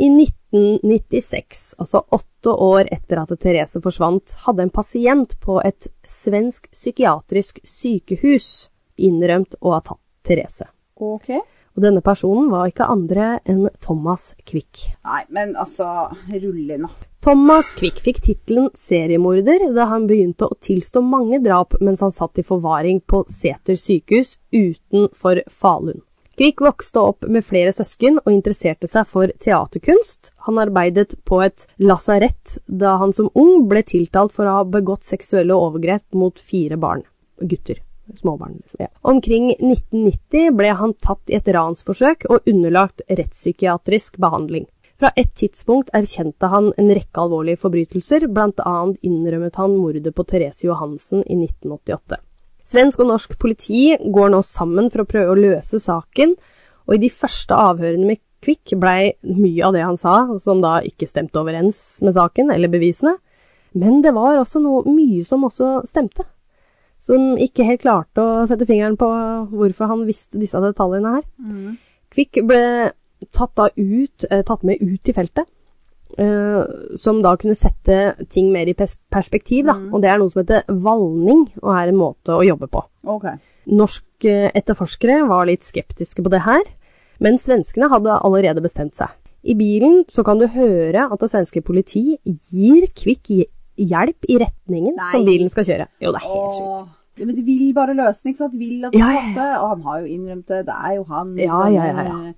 Speaker 1: I 1996, altså åtte år etter at Therese forsvant, hadde en pasient på et svensk psykiatrisk sykehus innrømt å ha tatt Therese.
Speaker 2: Ok.
Speaker 1: Og denne personen var ikke andre enn Thomas Quick.
Speaker 2: Nei, men altså, rull inn, da.
Speaker 1: Thomas Quick fikk tittelen seriemorder da han begynte å tilstå mange drap mens han satt i forvaring på Sæter sykehus utenfor Falun. Quick vokste opp med flere søsken og interesserte seg for teaterkunst. Han arbeidet på et lasarett da han som ung ble tiltalt for å ha begått seksuelle overgrep mot fire barn. Gutter. Småbarn, liksom. Ja. Omkring 1990 ble han tatt i et ransforsøk og underlagt rettspsykiatrisk behandling. Fra et tidspunkt erkjente han en rekke alvorlige forbrytelser, bl.a. innrømmet han mordet på Therese Johansen i 1988. Svensk og norsk politi går nå sammen for å prøve å løse saken, og i de første avhørene med Quick blei mye av det han sa, som da ikke stemte overens med saken eller bevisene, men det var også noe mye som også stemte, som ikke helt klarte å sette fingeren på hvorfor han visste disse detaljene her. Kvikk ble tatt, da ut, eh, tatt med ut i feltet, eh, som da kunne sette ting mer i pers perspektiv. Da.
Speaker 2: Mm.
Speaker 1: Og det er noe som heter valning, og er en måte å jobbe på.
Speaker 2: Ok.
Speaker 1: Norske etterforskere var litt skeptiske på det her, men svenskene hadde allerede bestemt seg. I bilen så kan du høre at det svenske politi gir Kvikk hj- hjelp i retningen
Speaker 2: Nei.
Speaker 1: som bilen skal kjøre. Jo, det er helt sjukt.
Speaker 2: Åh. Ja, men de vil bare løse den, ikke sant? De vil at det
Speaker 1: Ja,
Speaker 2: skal
Speaker 1: ja,
Speaker 2: passe. Og han har jo innrømt det. Det er jo han.
Speaker 1: Ja,
Speaker 2: liksom.
Speaker 1: ja, ja, ja.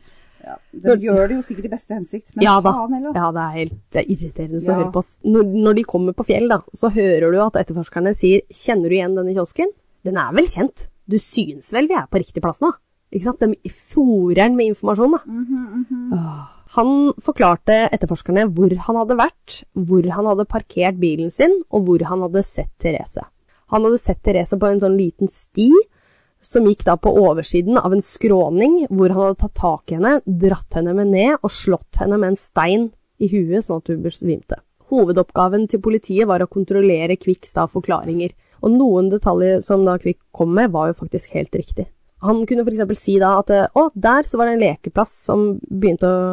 Speaker 2: Ja, De gjør det jo sikkert i beste hensikt, men
Speaker 1: ja, da.
Speaker 2: faen heller.
Speaker 1: Ja, det er helt det er irriterende
Speaker 2: Ja.
Speaker 1: å høre på. ass. Når, når de kommer på fjell, da, så hører du at etterforskerne sier 'Kjenner du igjen denne kiosken?' Den er vel kjent? Du syns vel vi er på riktig plass nå? Ikke sant? De fôrer den med informasjon, da.
Speaker 2: Mhm,
Speaker 1: Åh. Han forklarte etterforskerne hvor han hadde vært, hvor han hadde parkert bilen sin, og hvor han hadde sett Therese. Han hadde sett Therese på en sånn liten sti, som gikk da på oversiden av en skråning, hvor han hadde tatt tak i henne, dratt henne med ned og slått henne med en stein i huet, sånn at hun besvimte. Hovedoppgaven til politiet var å kontrollere Kvikks da forklaringer, og noen detaljer som da Kvikk kom med, var jo faktisk helt riktig. Han kunne f.eks. si da at å, der så var det en lekeplass som begynte å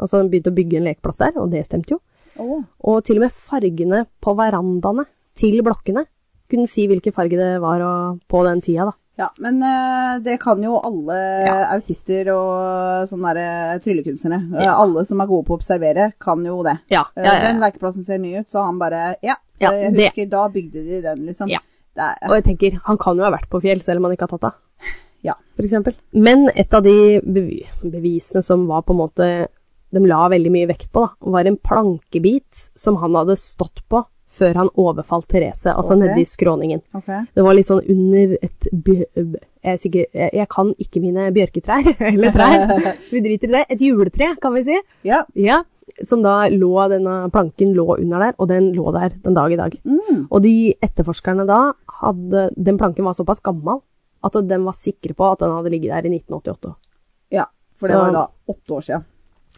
Speaker 1: Altså, han begynte å bygge en lekeplass der, og det stemte jo.
Speaker 2: Åh.
Speaker 1: Og til og med fargene på verandaene til blokkene kunne si hvilken farge det var og, på den tida, da.
Speaker 2: Ja, men eh, det kan jo alle
Speaker 1: Ja.
Speaker 2: autister og sånne der, eh, tryllekunstnere. Eh, alle som er gode på å observere, kan jo det.
Speaker 1: Ja,
Speaker 2: Eh, Den lekeplassen ser ny ut, så han bare Ja,
Speaker 1: Ja,
Speaker 2: eh, jeg
Speaker 1: det-
Speaker 2: husker da bygde de den, liksom.
Speaker 1: sånn. Ja.
Speaker 2: Det er,
Speaker 1: Og jeg tenker, han kan jo ha vært på fjell, selv om han ikke har tatt av. (laughs)
Speaker 2: Ja.
Speaker 1: For eksempel. Men et av de bevi- bevisene som var på en måte de la veldig mye vekt på, da, var en plankebit som han hadde stått på før han overfalt Therese, altså
Speaker 2: Ok.
Speaker 1: nede i skråningen.
Speaker 2: ok.
Speaker 1: Det var litt sånn under et bø- jeg, er sikker, jeg jeg kan ikke mine bjørketrær, (laughs) eller trær, så vi driter i det. Et juletre, kan vi si.
Speaker 2: Ja.
Speaker 1: Ja, som da lå, denne planken lå under der, og den lå der den dag i dag.
Speaker 2: Mm.
Speaker 1: Og de etterforskerne da hadde Den planken var såpass gammel at den var sikre på at den hadde ligget der i 1988.
Speaker 2: ja. For det
Speaker 1: Så-
Speaker 2: var jo da åtte år siden.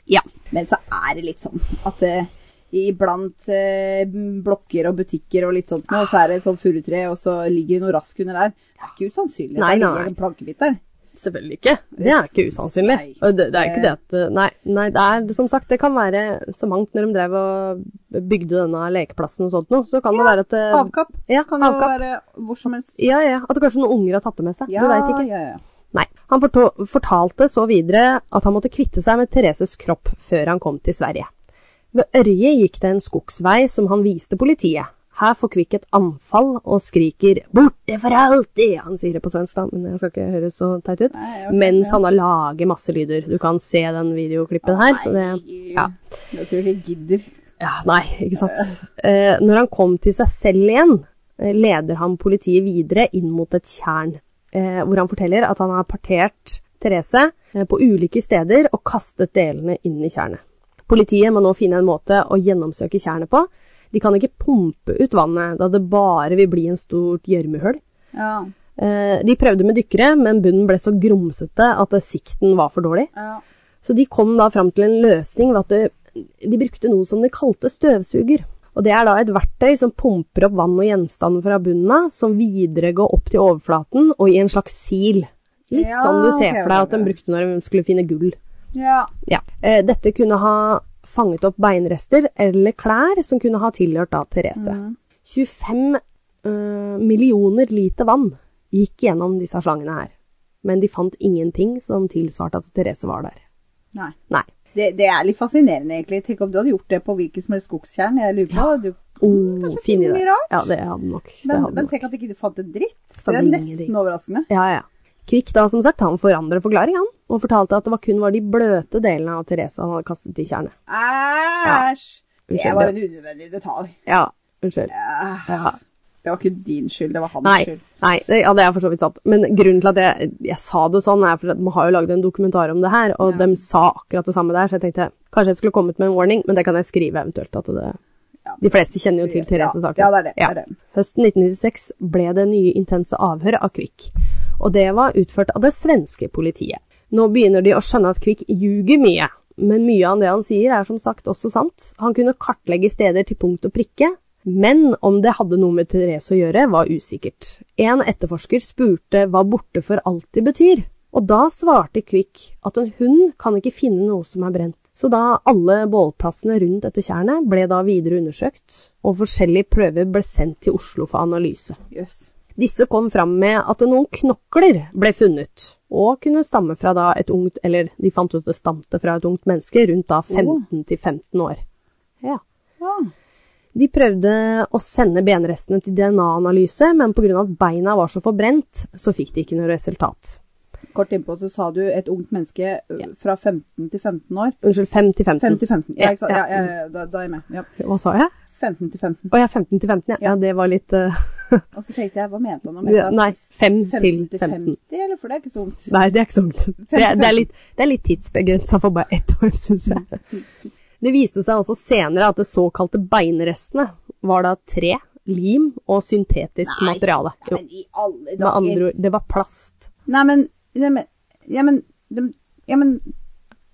Speaker 1: Ja.
Speaker 2: Men så er det litt sånn at eh, iblant eh, blokker og butikker og litt sånt nå, så er det et sånt furutre, og så ligger det noe rask under der. Det er ikke usannsynlig at
Speaker 1: Nei,
Speaker 2: det
Speaker 1: nei, nei.
Speaker 2: ligger en plankebit der.
Speaker 1: Selvfølgelig ikke. Det er ikke usannsynlig.
Speaker 2: Nei.
Speaker 1: Og det, det er ikke det at Nei, nei det er som sagt, det kan være så mangt når de drev og bygde denne lekeplassen og sånt noe, så kan det være at det,
Speaker 2: Avkapp
Speaker 1: Eh, Ja,
Speaker 2: kan jo
Speaker 1: avkapp.
Speaker 2: være hvor som helst.
Speaker 1: Ja, ja. At kanskje noen unger har tatt det med seg. du veit ikke.
Speaker 2: ja, ja.
Speaker 1: Nei. Han forto- fortalte så videre at han måtte kvitte seg med Thereses kropp før han kom til Sverige. Ved Ørje gikk det en skogsvei som han viste politiet. Her får Kvikk et anfall og skriker 'borte for alltid'. Han sier det på svensk, da, men jeg skal ikke høres så teit ut.
Speaker 2: Nei, jeg orker
Speaker 1: Mens
Speaker 2: ikke.
Speaker 1: han da lager masse lyder. Du kan se den videoklippen her, så det ja.
Speaker 2: Jeg tror de gidder.
Speaker 1: Ja, nei, ikke sant. Eh, når han kom til seg selv igjen, eh, leder han politiet videre inn mot et tjern, eh, hvor han forteller at han har partert Therese eh, på ulike steder og kastet delene inn i tjernet. Politiet må nå finne en måte å gjennomsøke tjernet på. De kan ikke pumpe ut vannet, da det bare vil bli en stort gjørmehull.
Speaker 2: Ja.
Speaker 1: Eh, De prøvde med dykkere, men bunnen ble så grumsete at eh, sikten var for dårlig.
Speaker 2: ja.
Speaker 1: Så de kom da fram til en løsning ved at det, de brukte noe som de kalte støvsuger. Og det er da et verktøy som pumper opp vann og gjenstander fra bunnen av, som videre går opp til overflaten og i en slags sil. Litt
Speaker 2: Ja,
Speaker 1: som du ser
Speaker 2: ok,
Speaker 1: for deg at de
Speaker 2: ok.
Speaker 1: brukte når de skulle finne gull.
Speaker 2: ja.
Speaker 1: Ja. Eh, Dette kunne ha fanget opp beinrester eller klær som kunne ha tilhørt da Therese. 25 eh, millioner liter vann gikk gjennom disse slangene her. Men de fant ingenting som tilsvarte at Therese var der.
Speaker 2: Nei.
Speaker 1: Nei.
Speaker 2: Det, det er litt fascinerende, egentlig. Tenk om du hadde gjort det på hvilket som helst skogstjern. Jeg lurer på du, Mm,
Speaker 1: Oh, fin
Speaker 2: finne
Speaker 1: idé.
Speaker 2: mye rart.
Speaker 1: Ja, det hadde nok. det
Speaker 2: men,
Speaker 1: hadde
Speaker 2: men
Speaker 1: nok.
Speaker 2: tenk at ikke du fant en dritt. Det
Speaker 1: Fant
Speaker 2: er
Speaker 1: ingenting.
Speaker 2: nesten overraskende.
Speaker 1: Ja, ja. Kvikk da, som sagt, han forandret forklaring, han, og fortalte at det var kun var de bløte delene av Therese han hadde kastet i tjernet.
Speaker 2: Æsj! Det
Speaker 1: Unnskyld,
Speaker 2: var
Speaker 1: det-
Speaker 2: en unødvendig detalj.
Speaker 1: Ja, unnskyld.
Speaker 2: Ja.
Speaker 1: Ja.
Speaker 2: Det var ikke din skyld, det var hans
Speaker 1: Nei,
Speaker 2: skyld.
Speaker 1: nei det, ja, det er for så vidt sant. Men grunnen til at jeg, jeg sa det sånn, er for at man har jo laget en dokumentar om det her, og de sa akkurat det samme der, så jeg tenkte kanskje jeg skulle kommet med en warning, men det kan jeg skrive eventuelt. at det...
Speaker 2: Ja.
Speaker 1: De fleste kjenner jo til Therese
Speaker 2: Ja,
Speaker 1: Saken.
Speaker 2: ja, det er det, det er det.
Speaker 1: Høsten 1996 ble det nye intense avhør av Kvikk, og det var utført av det svenske politiet. Nå begynner de å skjønne at Kvikk ljuger mye, men mye av det han sier er som sagt også sant. Han kunne kartlegge steder til punkt og prikke, men om det hadde noe med Therese å gjøre, var usikkert. En etterforsker spurte hva borte for alltid betyr, og da svarte Kvikk at en hund kan ikke finne noe som er brent. Så da alle bålplassene rundt dette tjernet ble da videre undersøkt, og forskjellige prøver ble sendt til Oslo for analyse.
Speaker 2: Jøss.
Speaker 1: Disse kom fram med at noen knokler ble funnet, og kunne stamme fra da et ungt, eller de fant ut det stamte fra et ungt menneske rundt da 15 til 15 år. Ja.
Speaker 2: Ja.
Speaker 1: De prøvde å sende benrestene til DNA-analyse, men pga. at beina var så forbrent, så fikk de ikke noe resultat.
Speaker 2: Kort innpå så sa du et ungt menneske ø, fra 15 til 15 år.
Speaker 1: Unnskyld, 5 til 15.
Speaker 2: 5 til 15. Ja, ikke sant?
Speaker 1: Ja,
Speaker 2: Ja, ja, ja, da, da er jeg med. Ja.
Speaker 1: Hva sa jeg?
Speaker 2: 15 til 15.
Speaker 1: Å ja, 15 til 15, ja. ja det var litt
Speaker 2: (laughs)
Speaker 1: eh,
Speaker 2: Og så tenkte jeg, hva mente han om
Speaker 1: Ja,
Speaker 2: dette?
Speaker 1: Nei, 5 til
Speaker 2: 15 til
Speaker 1: 15.
Speaker 2: 50, eller? For det er ikke så ungt.
Speaker 1: Nei, det er ikke så ungt. Det er, det er litt, det er litt tidsbegrensa for bare ett år, syns jeg.
Speaker 2: (laughs)
Speaker 1: Det viste seg også senere at det såkalte beinrestene var da tre, lim og syntetisk
Speaker 2: Nei.
Speaker 1: materiale. Jo,
Speaker 2: Men i alle
Speaker 1: med andre
Speaker 2: dager.
Speaker 1: ord, det var plast.
Speaker 2: Nei, men, nei, men, ja, men, de- ja, men,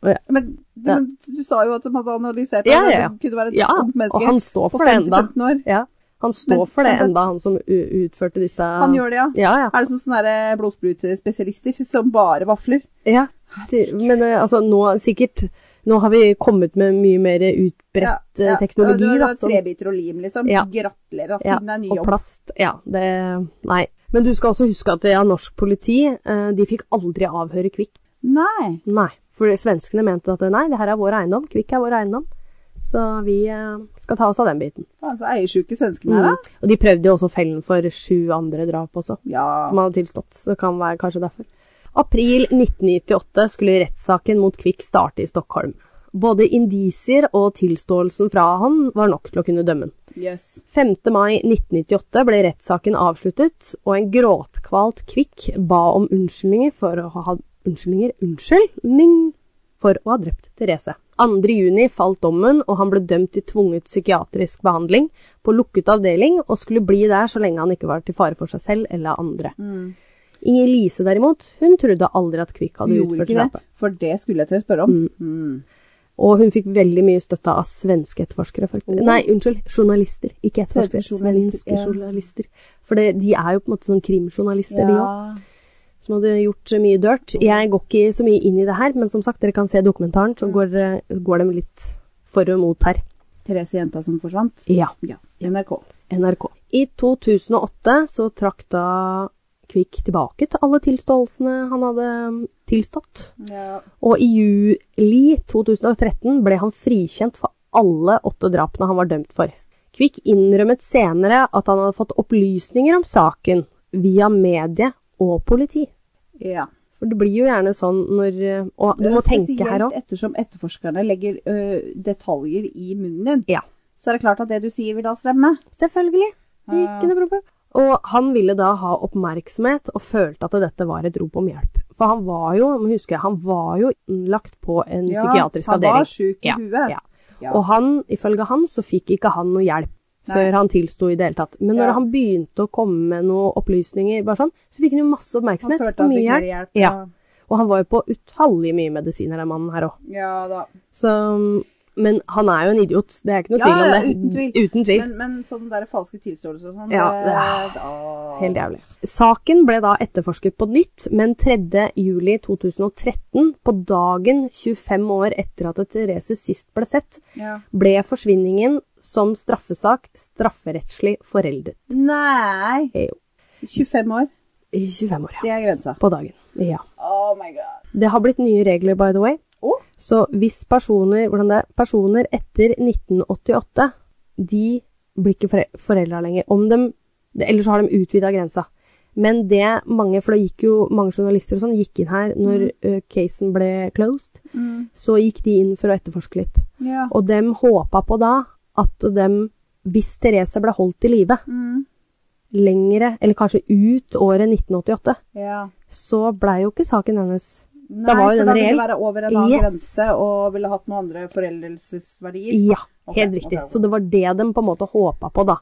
Speaker 1: Ja.
Speaker 2: men, de-
Speaker 1: Ja.
Speaker 2: men du sa jo at de hadde analysert det,
Speaker 1: Ja,
Speaker 2: at
Speaker 1: ja, ja.
Speaker 2: det kunne være et
Speaker 1: Ja,
Speaker 2: ungt menneske
Speaker 1: og han står
Speaker 2: på
Speaker 1: for det
Speaker 2: 5 til
Speaker 1: enda.
Speaker 2: 15 år.
Speaker 1: Ja, han står
Speaker 2: Men-
Speaker 1: for det
Speaker 2: men det-
Speaker 1: enda, han som u utførte disse
Speaker 2: Han gjør det, ja.
Speaker 1: Ja, ja.
Speaker 2: Er det sånn sånne der blodsprutespesialister som bare vafler?
Speaker 1: ja. det- Men eh, altså, nå sikkert Nå har vi kommet med mye mer utbredt eh, teknologi,
Speaker 2: du, du,
Speaker 1: da.
Speaker 2: har
Speaker 1: som-
Speaker 2: Trebiter og lim, liksom.
Speaker 1: Ja.
Speaker 2: Gratulerer, at
Speaker 1: Ja,
Speaker 2: finn deg en ny
Speaker 1: og
Speaker 2: jobb.
Speaker 1: plast. Ja, det Nei. Men du skal også huske at ja, norsk politi eh, de fikk aldri avhøre Kvikk.
Speaker 2: Nei.
Speaker 1: Nei. For svenskene mente at nei, det her er vår eiendom. Kvikk er vår eiendom. Så vi eh, skal ta oss av den biten. Mm.
Speaker 2: Faen, så eiersjuke svenskene er, Mm. da.
Speaker 1: Og de prøvde jo også fellen for sju andre drap også,
Speaker 2: Ja.
Speaker 1: som hadde tilstått. Så det kan være kanskje derfor. April 1998 skulle rettssaken mot Kvikk starte i Stockholm. Både indisier og tilståelsen fra han var nok til å kunne dømme han.
Speaker 2: Jøss.
Speaker 1: 5. mai 1998 ble rettssaken avsluttet, og en gråtkvalt Kvikk ba om unnskyldninger for å ha unnskyldninger, unnskyldning for å ha drept Therese. 2. juni falt dommen, og han ble dømt til tvunget psykiatrisk behandling på lukket avdeling, og skulle bli der så lenge han ikke var til fare for seg selv eller andre.
Speaker 2: Mm.
Speaker 1: Inger Lise derimot, hun trodde aldri at Kvikk hadde
Speaker 2: Gjorde
Speaker 1: utført Mm.
Speaker 2: ikke
Speaker 1: drapet.
Speaker 2: det. For det skulle jeg til å spørre om. Mm.
Speaker 1: Og hun fikk veldig mye støtte av svenske etterforskere. faktisk. Nei, unnskyld, journalister. Ikke etterforskere,
Speaker 2: Svenske journalister,
Speaker 1: svenske
Speaker 2: ja.
Speaker 1: journalister. For det, de er jo på en måte sånn krimjournalister, de òg, som hadde gjort mye dirt. Jeg går ikke så mye inn i det her, men som sagt, dere kan se dokumentaren,
Speaker 2: Mm.
Speaker 1: så går, eh, går de litt for og mot her.
Speaker 2: Therese jenta som forsvant.
Speaker 1: Ja,
Speaker 2: Ja. NRK.
Speaker 1: NRK. I 2008 så trakk da Kvikk tilbake til alle tilståelsene han hadde mm, tilstått.
Speaker 2: Ja.
Speaker 1: Og i juli 2013 ble han frikjent for alle åtte drapene han var dømt for. Kvikk innrømmet senere at han hadde fått opplysninger om saken via medie og politi.
Speaker 2: ja.
Speaker 1: For det blir jo gjerne sånn når eh, Og du må tenke her òg.
Speaker 2: Spesielt ettersom etterforskerne legger ø, detaljer i munnen din.
Speaker 1: Ja.
Speaker 2: Så er det klart at det du sier vil da stremme.
Speaker 1: Selvfølgelig. Ikke noe problem. Og han ville da ha oppmerksomhet, og følte at dette var et rop om hjelp. For han var jo, må huske, han var jo innlagt på en psykiatrisk
Speaker 2: han
Speaker 1: avdeling.
Speaker 2: var sjuk i
Speaker 1: Ja,
Speaker 2: huet.
Speaker 1: ja.
Speaker 2: Ja.
Speaker 1: Og han, ifølge han, så fikk ikke han noe hjelp. før han tilsto i det hele tatt. Men når
Speaker 2: Ja.
Speaker 1: han begynte å komme med noen opplysninger, bare sånn, så fikk han jo masse
Speaker 2: Han
Speaker 1: oppmerksomhet.
Speaker 2: følte han
Speaker 1: mye
Speaker 2: fikk mer
Speaker 1: hjelp.
Speaker 2: hjelp.
Speaker 1: Ja. Og han var jo på utallige mye medisiner, den mannen her òg.
Speaker 2: ja da.
Speaker 1: Så Men han er jo en idiot, det er ikke noe
Speaker 2: Ja,
Speaker 1: tvil om
Speaker 2: ja,
Speaker 1: det.
Speaker 2: uten tvil.
Speaker 1: Uten tvil.
Speaker 2: Men, men sånne der falske tilståelser og sånn
Speaker 1: Ja, Ah.
Speaker 2: det,
Speaker 1: det er-
Speaker 2: det, å.
Speaker 1: Helt jævlig. Saken ble da etterforsket på nytt, men 3. juli 2013, på dagen 25 år etter at Therese sist ble sett,
Speaker 2: Ja.
Speaker 1: ble forsvinningen som straffesak strafferettslig foreldet.
Speaker 2: Nei!
Speaker 1: Jo.
Speaker 2: 25 år,
Speaker 1: I 25 år, ja.
Speaker 2: det er grensa.
Speaker 1: På dagen. Ja.
Speaker 2: Oh my god.
Speaker 1: Det har blitt nye regler, by the way.
Speaker 2: Å?
Speaker 1: Så hvis personer, hvordan det er, personer etter 1988, de blir ikke fore- foreldra lenger. Om dem, det- eller så har de utvida grensa. Men det mange, for det gikk jo mange journalister og sånn, gikk inn her når ø, casen ble closed. Så gikk de inn for å etterforske litt.
Speaker 2: Ja.
Speaker 1: Og dem håpa på da at dem, hvis Therese ble holdt i live
Speaker 2: Mm.
Speaker 1: lengre, eller kanskje ut året 1988,
Speaker 2: ja.
Speaker 1: så blei jo ikke saken hennes
Speaker 2: Nei,
Speaker 1: Da var jo
Speaker 2: for
Speaker 1: den
Speaker 2: da ville
Speaker 1: reell.
Speaker 2: det være over en annen
Speaker 1: Yes.
Speaker 2: grense og ville hatt noen andre foreldelsesverdier.
Speaker 1: Ja,
Speaker 2: Ok,
Speaker 1: helt
Speaker 2: ok,
Speaker 1: riktig.
Speaker 2: ok.
Speaker 1: Så det var det de på en måte håpa på, da.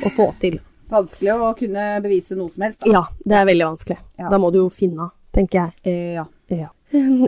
Speaker 1: Å få til.
Speaker 2: Vanskelig å kunne bevise noe som helst. Da.
Speaker 1: Ja, det er veldig vanskelig.
Speaker 2: Ja.
Speaker 1: Da må du jo finne av, tenker jeg.
Speaker 2: Eh, ja.
Speaker 1: Ja.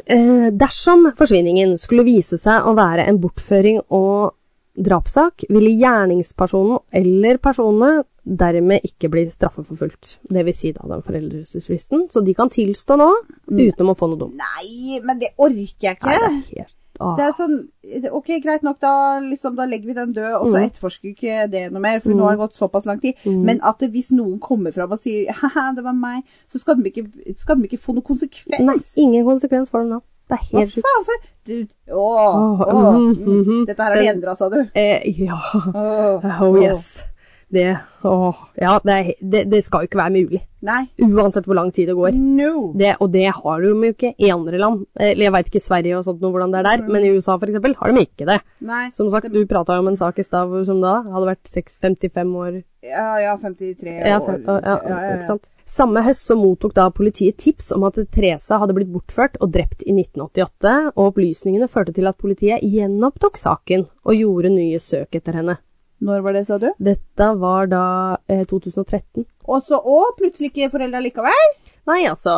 Speaker 1: Eh, dersom forsvinningen skulle vise seg å være en bortføring og drapssak, ville gjerningspersonen eller personene dermed ikke bli straffeforfulgt. Det vil si da den foreldelsesfristen. Så de kan tilstå nå
Speaker 2: Mm.
Speaker 1: uten å få noe dumt.
Speaker 2: Nei, men det orker jeg
Speaker 1: Nei,
Speaker 2: ikke.
Speaker 1: det er helt... Ah.
Speaker 2: Det er sånn, ok, greit nok, da, liksom, da legger vi den død, og så
Speaker 1: Mm.
Speaker 2: etterforsker vi ikke det noe mer, for nå har det gått såpass lang tid. Men at det, hvis noen kommer fram og sier haha, det var meg, så skal de ikke, skal de ikke få noen konsekvens.
Speaker 1: Nei, ingen konsekvens for dem nå. Det er
Speaker 2: Hva
Speaker 1: helt sjukt.
Speaker 2: faen for du, Åh,
Speaker 1: Åh,
Speaker 2: åh,
Speaker 1: mhm,
Speaker 2: mm,
Speaker 1: mhm.
Speaker 2: Dette her har de endra, sa du.
Speaker 1: Eh, ja.
Speaker 2: Åh,
Speaker 1: Oh yes. Det, åh, ja, det, er- det, det skal jo ikke være mulig.
Speaker 2: Nei.
Speaker 1: Uansett hvor lang tid det går.
Speaker 2: No.
Speaker 1: Det, og det har de jo ikke i andre land. Eh, Eller jeg veit ikke Sverige og sånt noe hvordan det er der, men i USA for eksempel har de ikke det.
Speaker 2: Nei.
Speaker 1: Som sagt, du prata jo om en sak i stad hvor- som da hadde vært 6, 55 år
Speaker 2: Ja, ja, 53
Speaker 1: ja,
Speaker 2: år.
Speaker 1: ja, ja, Ikke sant? Samme høst så mottok da politiet tips om at Therese hadde blitt bortført og drept i 1988, og opplysningene førte til at politiet gjenopptok saken og gjorde nye søk etter henne.
Speaker 2: Når var det, sa du?
Speaker 1: Dette var da eh, 2013.
Speaker 2: Og så òg plutselig ikke foreldra likevel?
Speaker 1: Nei, altså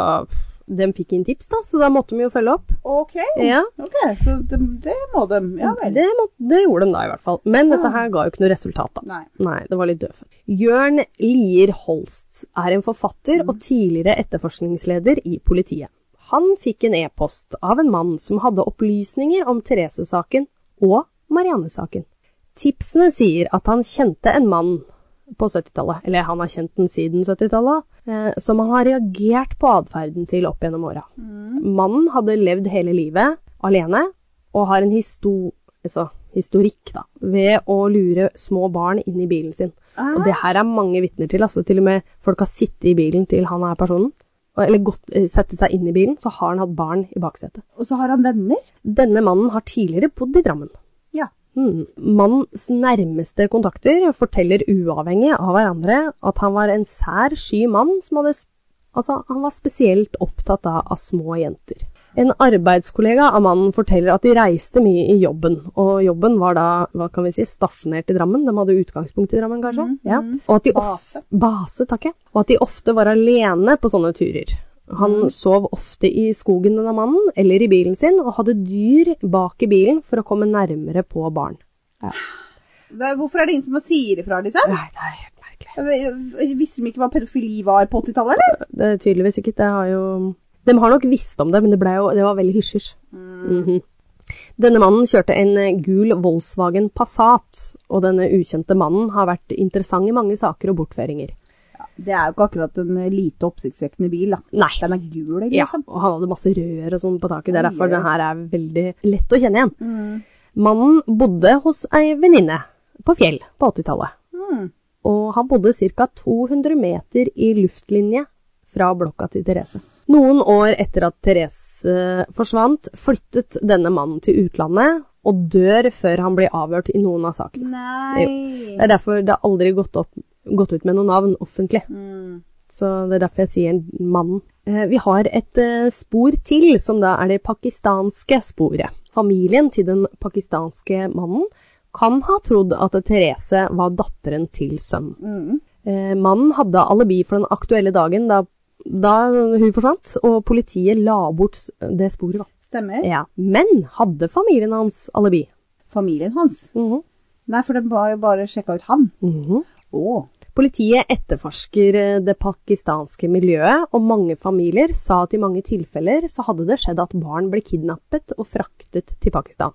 Speaker 1: De fikk inn tips, da, så da måtte de jo følge opp.
Speaker 2: OK.
Speaker 1: Ja,
Speaker 2: Ok, Så det, Mm, det må de. Ja vel.
Speaker 1: det, må, det gjorde de da, i hvert fall. Men dette her ga jo ikke noe resultat, da.
Speaker 2: Nei.
Speaker 1: Nei, det var litt døvt. Jørn Lier Holst er en forfatter og tidligere etterforskningsleder i politiet. Han fikk en e-post av en mann som hadde opplysninger om Therese-saken og Marianne-saken. Tipsene sier at han kjente en mann på 70-tallet, eller han har kjent den siden 70-tallet, eh, som han har reagert på atferden til opp gjennom åra. Mannen hadde levd hele livet alene, og har en histo altså, historikk da, ved å lure små barn inn i bilen sin. Og det her er mange vitner til. Altså, til og med folk har sittet i bilen til han er personen, og- eller gått, eh, sette seg inn i bilen, så har han hatt barn i baksetet.
Speaker 2: Og så har han venner?
Speaker 1: Denne mannen har tidligere bodd i Drammen.
Speaker 2: Ja.
Speaker 1: Hmm. Mannens nærmeste kontakter forteller uavhengig av hverandre at han var en sær sky mann som hadde sp- Altså, han var spesielt opptatt da av små jenter. En arbeidskollega av mannen forteller at de reiste mye i jobben, og jobben var da, hva kan vi si, stasjonert i Drammen, de hadde utgangspunkt i Drammen kanskje, ja. og at de
Speaker 2: Base.
Speaker 1: of, base, takk jeg, og at de ofte var alene på sånne turer. Han sov ofte i skogen denne mannen, eller i bilen sin, og hadde dyr bak i bilen for å komme nærmere på barn.
Speaker 2: Hva- Hvorfor er det ingen som sier ifra, liksom?
Speaker 1: Nei, det er helt merkelig.
Speaker 2: Visste de ikke hva pedofili var på 80-tallet, eller?
Speaker 1: Det er tydeligvis ikke. Det har jo De har nok visst om det, men det, ble jo, det var veldig hysjers. Mhm. Denne mannen kjørte en eh, gul Volkswagen Passat, og denne ukjente mannen har vært interessant i mange saker og bortføringer.
Speaker 2: Det er jo ikke akkurat en eh, lite oppsiktsvekkende bil, da.
Speaker 1: Nei.
Speaker 2: Den er gul,
Speaker 1: Ja,
Speaker 2: liksom.
Speaker 1: og han hadde masse rør og sånn på taket. Det er derfor
Speaker 2: Oi, oi.
Speaker 1: den her er veldig lett å kjenne igjen.
Speaker 2: Mm.
Speaker 1: Mannen bodde hos ei venninne på Fjell på 80-tallet.
Speaker 2: Mm.
Speaker 1: Og han bodde ca. 200 meter i luftlinje fra blokka til Therese. Noen år etter at Therese eh, forsvant, flyttet denne mannen til utlandet og dør før han blir avhørt i noen av sakene.
Speaker 2: Nei.
Speaker 1: Det er derfor det har aldri gått, opp, gått ut med noe navn offentlig.
Speaker 2: Mm.
Speaker 1: Så det er derfor jeg sier mannen. Eh, Vi har et eh, spor til, som da er det pakistanske sporet. Familien til den pakistanske mannen kan ha trodd at Therese var datteren til sønnen.
Speaker 2: Mm.
Speaker 1: Eh, mannen hadde alibi for den aktuelle dagen da, da hun forsvant, og politiet la bort s- det sporet. da.
Speaker 2: Stemmer.
Speaker 1: Ja. Men hadde familien hans alibi?
Speaker 2: Familien hans?
Speaker 1: Mhm.
Speaker 2: Nei, for den var jo bare sjekka ut han.
Speaker 1: Mhm.
Speaker 2: Å.
Speaker 1: Politiet etterforsker eh, det pakistanske miljøet, og mange familier sa at i mange tilfeller så hadde det skjedd at barn ble kidnappet og fraktet til Pakistan.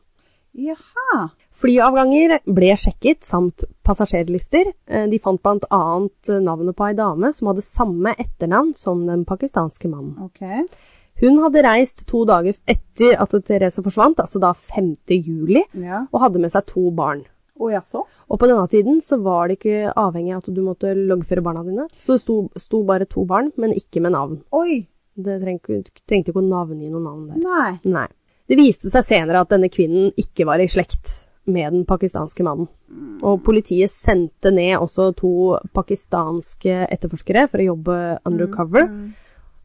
Speaker 2: Jaha.
Speaker 1: Flyavganger ble sjekket samt passasjerlister. Eh, De fant bl.a. navnet på ei dame som hadde samme etternavn som den pakistanske mannen.
Speaker 2: Ok.
Speaker 1: Hun hadde reist to dager etter at Therese forsvant, altså da 5. juli,
Speaker 2: Ja.
Speaker 1: og hadde med seg to barn.
Speaker 2: Å jaså?
Speaker 1: Og på denne tiden så var det ikke avhengig av at du måtte loggføre barna dine. Så det sto, sto bare to barn, men ikke med navn.
Speaker 2: Oi.
Speaker 1: Det trengte, trengte ikke å navngi noe navn der.
Speaker 2: Nei.
Speaker 1: Nei. Det viste seg senere at denne kvinnen ikke var i slekt med den pakistanske mannen. Og politiet sendte ned også to pakistanske etterforskere for å jobbe undercover.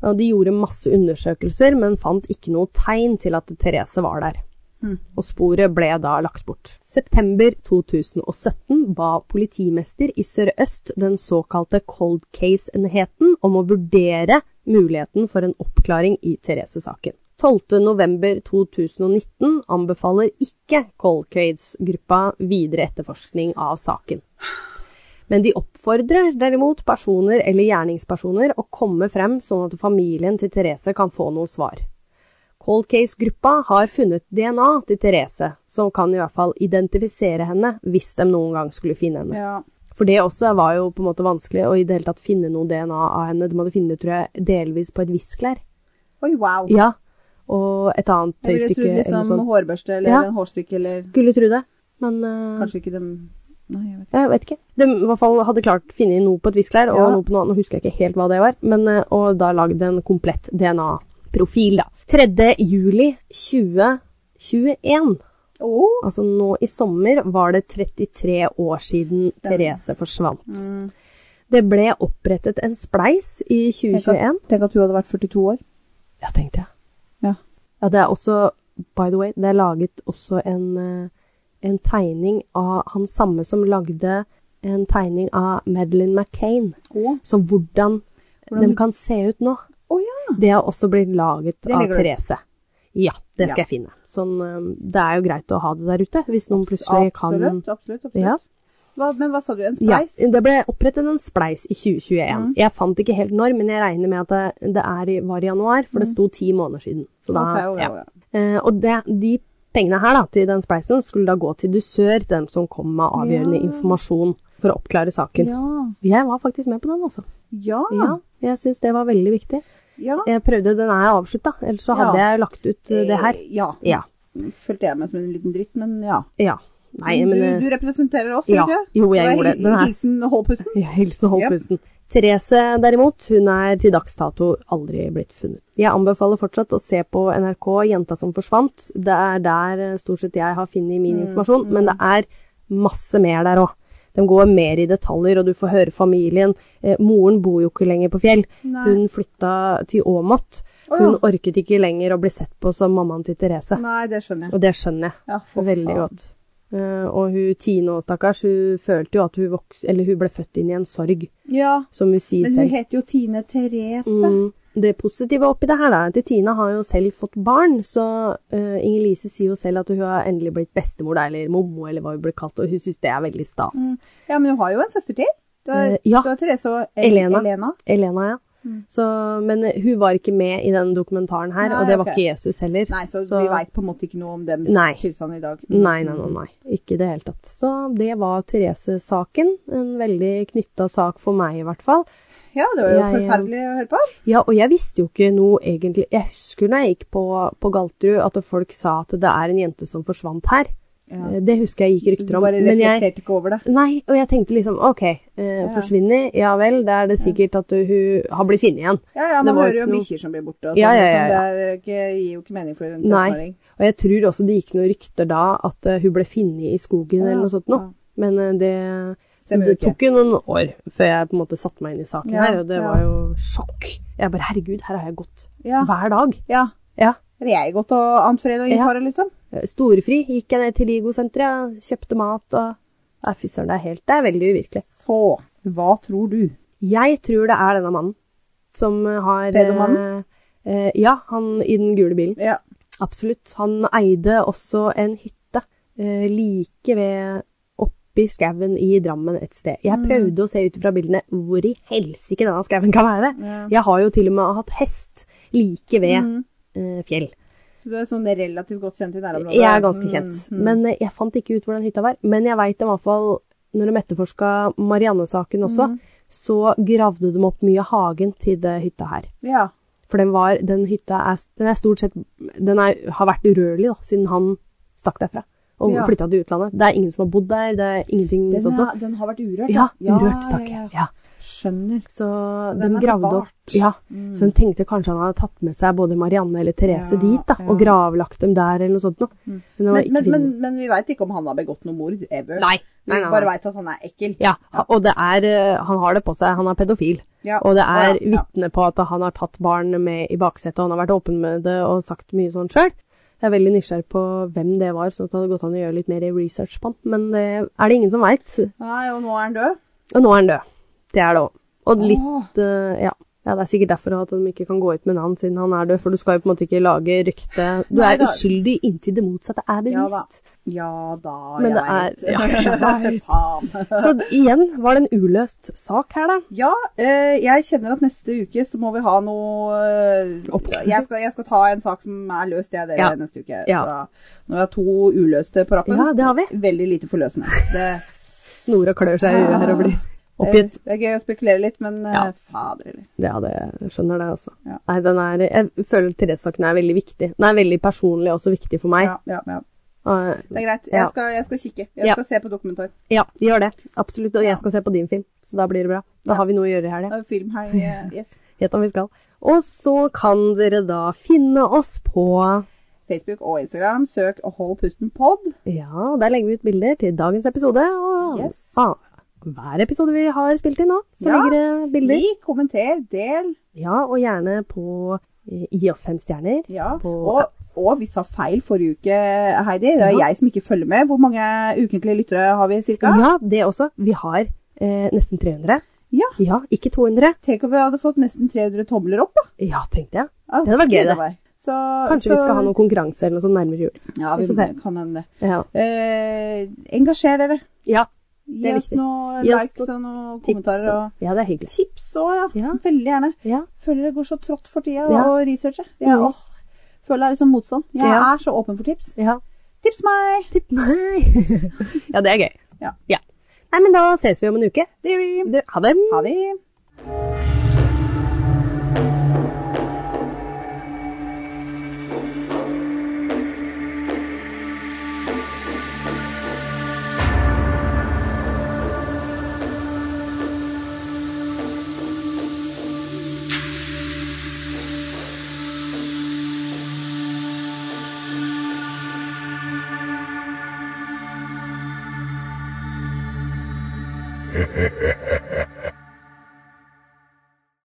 Speaker 1: Og de gjorde masse undersøkelser, men fant ikke noe tegn til at Therese var der. Og sporet ble da lagt bort. September 2017 ba politimester i Sør-Øst den såkalte cold case-enheten om å vurdere muligheten for en oppklaring i Therese-saken. 12. november 2019 anbefaler ikke cold case-gruppa videre etterforskning av saken. Men de oppfordrer derimot personer eller gjerningspersoner å komme frem sånn at familien til Therese kan få noe svar. Cold Case-gruppa har funnet DNA til Therese, som kan i hvert fall identifisere henne hvis de noen gang skulle finne henne.
Speaker 2: Ja.
Speaker 1: For det også var jo på en måte vanskelig å i det hele tatt finne noe DNA av henne. De hadde funnet det, tror jeg, delvis på et viskelær.
Speaker 2: Oi, wow.
Speaker 1: Ja. Og et annet
Speaker 2: Jeg ville
Speaker 1: tøystykke
Speaker 2: trodd
Speaker 1: eller noe
Speaker 2: liksom
Speaker 1: sånt.
Speaker 2: hårbørste eller
Speaker 1: Ja.
Speaker 2: en hårstykke eller
Speaker 1: Skulle tro det, men eh,
Speaker 2: Kanskje ikke dem Nei, jeg vet ikke.
Speaker 1: Jeg vet ikke. De i hvert fall hadde klart funnet noe på et viskelær, og
Speaker 2: Ja.
Speaker 1: noe på noe annet. Nå husker jeg ikke helt hva det var, men, eh, og da lagd en komplett DNA-profil, da. 3. juli 2021,
Speaker 2: Å!
Speaker 1: altså nå i sommer, var det 33 år siden Therese forsvant. Det ble opprettet en spleis i
Speaker 2: Tenk, at-
Speaker 1: 2021.
Speaker 2: tenk at hun hadde vært 42 år.
Speaker 1: Ja, tenkte jeg.
Speaker 2: Ja.
Speaker 1: Ja, det er også, by the way, det er laget også en, eh, en tegning av han samme som lagde en tegning av Madeleine McCain.
Speaker 2: Å
Speaker 1: Så hvordan,
Speaker 2: Hvordan-
Speaker 1: de kan se ut nå,
Speaker 2: Å ja!
Speaker 1: det har også blitt laget
Speaker 2: Det
Speaker 1: av
Speaker 2: legger du ut.
Speaker 1: Therese. Ja, det skal
Speaker 2: Ja.
Speaker 1: jeg finne. Sånn, øhm, det er jo greit å ha det der ute, hvis noen plutselig kan
Speaker 2: Absolutt. absolutt, absolutt.
Speaker 1: Ja.
Speaker 2: Hva, men hva sa du? En
Speaker 1: ja,
Speaker 2: spleis? Mm.
Speaker 1: det ble opprettet en spleis i 2021. Jeg fant ikke helt når, men jeg regner med at det, det er, i- var i januar, for det sto ti måneder siden. Så da,
Speaker 2: Mm. Ok, ok,
Speaker 1: ja.
Speaker 2: ok.
Speaker 1: Eh, og det, de pengene her da, til den spleisen skulle da gå til dusør, til dem som kom med avgjørende informasjon for å oppklare saken.
Speaker 2: Ja.
Speaker 1: Jeg var faktisk med på den, altså.
Speaker 2: Ja.
Speaker 1: Ja, jeg syns det var veldig viktig.
Speaker 2: ja.
Speaker 1: Jeg prøvde, den er avslutta, ellers så hadde
Speaker 2: Ja.
Speaker 1: jeg lagt ut eh, det her.
Speaker 2: Eh, Ja.
Speaker 1: Ja.
Speaker 2: Følte jeg meg som en liten dritt, men ja.
Speaker 1: ja. Nei, men
Speaker 2: du,
Speaker 1: eh,
Speaker 2: du representerer oss,
Speaker 1: ja.
Speaker 2: ikke
Speaker 1: Jo, jeg gjorde det. Den er-
Speaker 2: Hilsen Holpusten.
Speaker 1: (laughs) Jeg hilser holdt
Speaker 2: Yep.
Speaker 1: pusten. Therese derimot, hun er til dags dato aldri blitt funnet. Jeg anbefaler fortsatt å se på NRK Jenta som forsvant. Det er der eh, stort sett jeg har funnet min
Speaker 2: Mm,
Speaker 1: informasjon, men det er masse mer der òg. De går mer i detaljer, og du får høre familien. Eh, moren bor jo ikke lenger på Fjell.
Speaker 2: Nei.
Speaker 1: Hun flytta til Åmot.
Speaker 2: Å,
Speaker 1: Hun
Speaker 2: ja. Mm.
Speaker 1: orket ikke lenger å bli sett på som mammaen til Therese.
Speaker 2: Nei, det skjønner jeg.
Speaker 1: Og det skjønner jeg.
Speaker 2: Ja, for
Speaker 1: Veldig
Speaker 2: faen.
Speaker 1: godt. Eh, og hun Tine òg, stakkars, hun følte jo at hun, vok eller hun ble født inn i en sorg,
Speaker 2: Ja,
Speaker 1: som hun sier
Speaker 2: men hun
Speaker 1: selv.
Speaker 2: heter jo Tine Therese.
Speaker 1: Mm. Det positive oppi det her da, er at Tina har jo selv fått barn, så eh, Inger-Lise sier jo selv at hun har endelig blitt bestemor, da, eller mommo, eller hva hun blir kalt, og hun syns det er veldig stas.
Speaker 2: Mm. Ja, men hun har jo en søster til. Du har,
Speaker 1: Eh, ja.
Speaker 2: du har Therese og El
Speaker 1: Elena.
Speaker 2: Elena.
Speaker 1: Elena, ja. Så, men hun var ikke med i den dokumentaren her,
Speaker 2: Mm. Nei,
Speaker 1: og det var
Speaker 2: ok.
Speaker 1: ikke Jesus heller.
Speaker 2: Nei, så, vi veit på en måte ikke noe om dems
Speaker 1: Nei.
Speaker 2: tilstand i dag. Mm.
Speaker 1: Nei, nei, nei, nei. Ikke i det hele tatt. Så det var Therese-saken. En veldig knytta sak for meg, i hvert fall.
Speaker 2: Ja, det var jo
Speaker 1: Jeg, eh,
Speaker 2: forferdelig å høre på.
Speaker 1: Ja, og jeg visste jo ikke noe egentlig Jeg husker når jeg gikk på, på Galterud, at folk sa at det er en jente som forsvant her.
Speaker 2: Ja.
Speaker 1: Eh, Det husker jeg gikk
Speaker 2: Du
Speaker 1: rykter om.
Speaker 2: bare
Speaker 1: Men jeg,
Speaker 2: reflekterte ikke over det.
Speaker 1: nei, og jeg tenkte liksom OK, eh, forsvinner, ja vel, da er det sikkert at hun har blitt funnet igjen.
Speaker 2: Ja, ja,
Speaker 1: Det
Speaker 2: Man
Speaker 1: var
Speaker 2: hører
Speaker 1: ikke
Speaker 2: jo om
Speaker 1: noe-
Speaker 2: bikkjer som blir borte. Og
Speaker 1: Ja,
Speaker 2: sånn,
Speaker 1: ja, ja, ja.
Speaker 2: liksom. Det er jo ikke, gir jo ikke mening for en
Speaker 1: Nei.
Speaker 2: tenåring.
Speaker 1: Og jeg tror også det gikk noen rykter da at eh, hun ble funnet i skogen eller noe sånt noe.
Speaker 2: ja.
Speaker 1: Men eh, det så
Speaker 2: Stemmer
Speaker 1: det
Speaker 2: jo ikke.
Speaker 1: tok jo noen år før jeg på en måte satte meg inn i saken
Speaker 2: Ja,
Speaker 1: her, og det
Speaker 2: ja.
Speaker 1: var jo sjokk. Jeg bare herregud, her har jeg gått
Speaker 2: Ja.
Speaker 1: hver dag.
Speaker 2: Ja.
Speaker 1: Ja.
Speaker 2: Hadde jeg gått og ant fred og
Speaker 1: Ja.
Speaker 2: innfara, liksom?
Speaker 1: Eh, Storefri gikk jeg ned til Ligo-senteret, kjøpte mat og Nei, fy søren, det er helt Det er veldig uvirkelig.
Speaker 2: Så hva tror du?
Speaker 1: Jeg tror det er denne mannen som eh, har eh,
Speaker 2: Pedomannen?
Speaker 1: eh, ja, han i den gule bilen.
Speaker 2: Ja.
Speaker 1: Absolutt. Han eide også en hytte eh, like ved oppi skauen i Drammen et sted. Jeg
Speaker 2: Mm.
Speaker 1: prøvde å se ut fra bildene hvor i helsike denne skauen kan være.
Speaker 2: Ja. Mm.
Speaker 1: Jeg har jo til og med hatt hest like ved eh, fjell.
Speaker 2: Så du er sånn relativt godt kjent i nærområdet?
Speaker 1: Jeg er ganske kjent.
Speaker 2: Mm, mm.
Speaker 1: Men eh, jeg fant ikke ut hvor den hytta var. Men jeg veit i hvert fall, når de etterforska Marianne-saken også,
Speaker 2: Mm.
Speaker 1: så gravde de opp mye av hagen til det hytta her.
Speaker 2: Ja.
Speaker 1: For den var, den hytta er, den er stort sett Den er, har vært urørlig, da, siden han stakk derfra og
Speaker 2: Ja.
Speaker 1: flyttet flytta til utlandet. Det er ingen som har bodd der, det er ingenting
Speaker 2: Den,
Speaker 1: sånt noe.
Speaker 2: er, den har vært urørt?
Speaker 1: Ja,
Speaker 2: ja.
Speaker 1: urørt, takk.
Speaker 2: Ja,
Speaker 1: Ja,
Speaker 2: ja. Skjønner.
Speaker 1: Så
Speaker 2: den
Speaker 1: den,
Speaker 2: er
Speaker 1: gravde opp.
Speaker 2: bevart.
Speaker 1: Ja, Så den tenkte kanskje han hadde tatt med seg både Marianne eller Therese
Speaker 2: Ja,
Speaker 1: dit, da, og
Speaker 2: ja. Mm.
Speaker 1: gravlagt dem der, eller noe sånt noe. Men, det var
Speaker 2: Men,
Speaker 1: ikke
Speaker 2: men, men,
Speaker 1: funnet.
Speaker 2: men vi veit ikke om han har begått noe mord ever.
Speaker 1: Nei,
Speaker 2: Vi
Speaker 1: nei, nei,
Speaker 2: bare
Speaker 1: nei.
Speaker 2: veit at han er ekkel.
Speaker 1: Ja, og det er, eh, han har det på seg, han er pedofil.
Speaker 2: Ja.
Speaker 1: Og det er
Speaker 2: Å, ja, ja.
Speaker 1: vitne på at han har tatt barn med i baksetet, og han har vært åpen med det og sagt mye sånn sjøl. Jeg er veldig nysgjerrig på hvem det var, sånn at det hadde gått an å gjøre litt mer research på han. Men det er det ingen som veit.
Speaker 2: Nei, og nå er han død.
Speaker 1: Og nå er han død. Det er det òg. Og litt
Speaker 2: Åh.
Speaker 1: eh, ja. ja, det er sikkert derfor at de ikke kan gå ut med navn siden han er død, for du skal jo på en måte ikke lage rykte Du
Speaker 2: Nei
Speaker 1: er
Speaker 2: da.
Speaker 1: uskyldig inntil det motsatte er
Speaker 2: Ja da.
Speaker 1: bevist.
Speaker 2: Ja da,
Speaker 1: Men det
Speaker 2: jeg (laughs)
Speaker 1: er- ja, jeg vet.
Speaker 2: Faen.
Speaker 1: Så igjen var det en uløst sak her, da.
Speaker 2: Ja, eh, jeg kjenner at neste uke så må vi ha noe eh,
Speaker 1: Oppklaring.
Speaker 2: jeg skal, jeg skal ta en sak som er løst, jeg, dere,
Speaker 1: Ja.
Speaker 2: neste uke.
Speaker 1: Ja.
Speaker 2: Fra- Nå har jeg to uløste på rappen.
Speaker 1: Ja, det har vi.
Speaker 2: Veldig lite forløsende. Det,
Speaker 1: Nora klør seg i øyet her og
Speaker 2: (laughs)
Speaker 1: blir
Speaker 2: det,
Speaker 1: (laughs) oppgitt.
Speaker 2: det er gøy å spekulere litt, men eh,
Speaker 1: Ja.
Speaker 2: fader eller.
Speaker 1: Ja, det jeg skjønner det, altså.
Speaker 2: Ja.
Speaker 1: Nei, den er, jeg føler Therese-saken er veldig viktig. Den er veldig personlig også viktig for meg.
Speaker 2: Ja, ja, ja.
Speaker 1: Eh,
Speaker 2: Det er greit.
Speaker 1: Ja.
Speaker 2: Jeg skal, jeg skal kikke. Jeg
Speaker 1: Ja.
Speaker 2: skal se på dokumentar.
Speaker 1: ja, gjør det. Absolutt. Og jeg skal se på din film, så da blir det bra. Da har vi noe å gjøre i helga.
Speaker 2: Det er film her. eh, Yes.
Speaker 1: Gjett om vi skal. Og så kan dere da finne oss på
Speaker 2: Facebook og Instagram. Søk og hold pusten pod.
Speaker 1: Ja, der legger vi ut bilder til dagens episode. Og
Speaker 2: Yes.
Speaker 1: ah, hver episode vi har spilt inn nå, så
Speaker 2: Ja.
Speaker 1: ligger det bilder.
Speaker 2: Lik, kommenter, del.
Speaker 1: Ja, og gjerne på eh, Gi oss fem stjerner.
Speaker 2: Ja.
Speaker 1: På-
Speaker 2: Og, og vi sa feil forrige uke, Heidi. Det er
Speaker 1: Ja. Mhm.
Speaker 2: jeg som ikke følger med. Hvor mange ukentlige lyttere har vi cirka?
Speaker 1: Ja, det også. Vi har eh, nesten 300.
Speaker 2: Ja.
Speaker 1: ja. Ikke 200.
Speaker 2: Tenk om vi hadde fått nesten 300 tomler opp, da.
Speaker 1: Ja, tenkte jeg.
Speaker 2: Ja,
Speaker 1: Det hadde vært gøy, det.
Speaker 2: var. Så,
Speaker 1: Kanskje
Speaker 2: så,
Speaker 1: vi skal ha noen konkurranser eller noe sånt nærmere jul.
Speaker 2: Ja, vi
Speaker 1: Vi får se.
Speaker 2: kan hende.
Speaker 1: Ja.
Speaker 2: Eh, engasjer dere.
Speaker 1: ja. Det
Speaker 2: Gi
Speaker 1: er
Speaker 2: oss
Speaker 1: viktig.
Speaker 2: noen
Speaker 1: Gi oss
Speaker 2: likes og noen
Speaker 1: Tips.
Speaker 2: kommentarer.
Speaker 1: og-
Speaker 2: Og
Speaker 1: Ja, det er hyggelig.
Speaker 2: tips òg, ja.
Speaker 1: Ja.
Speaker 2: Veldig gjerne.
Speaker 1: Ja.
Speaker 2: Føler det går så trått for tida
Speaker 1: Ja.
Speaker 2: å researche. Jeg
Speaker 1: Mhm.
Speaker 2: åh, føler det er liksom motstand. Jeg
Speaker 1: Ja.
Speaker 2: er så åpen for tips.
Speaker 1: ja.
Speaker 2: Tips meg!
Speaker 1: Tipp meg! (laughs) ja, det er gøy.
Speaker 2: Ja.
Speaker 1: Nei, men da ses vi om en uke.
Speaker 2: Det gjør vi.
Speaker 1: Du, ha det.
Speaker 2: Ha det.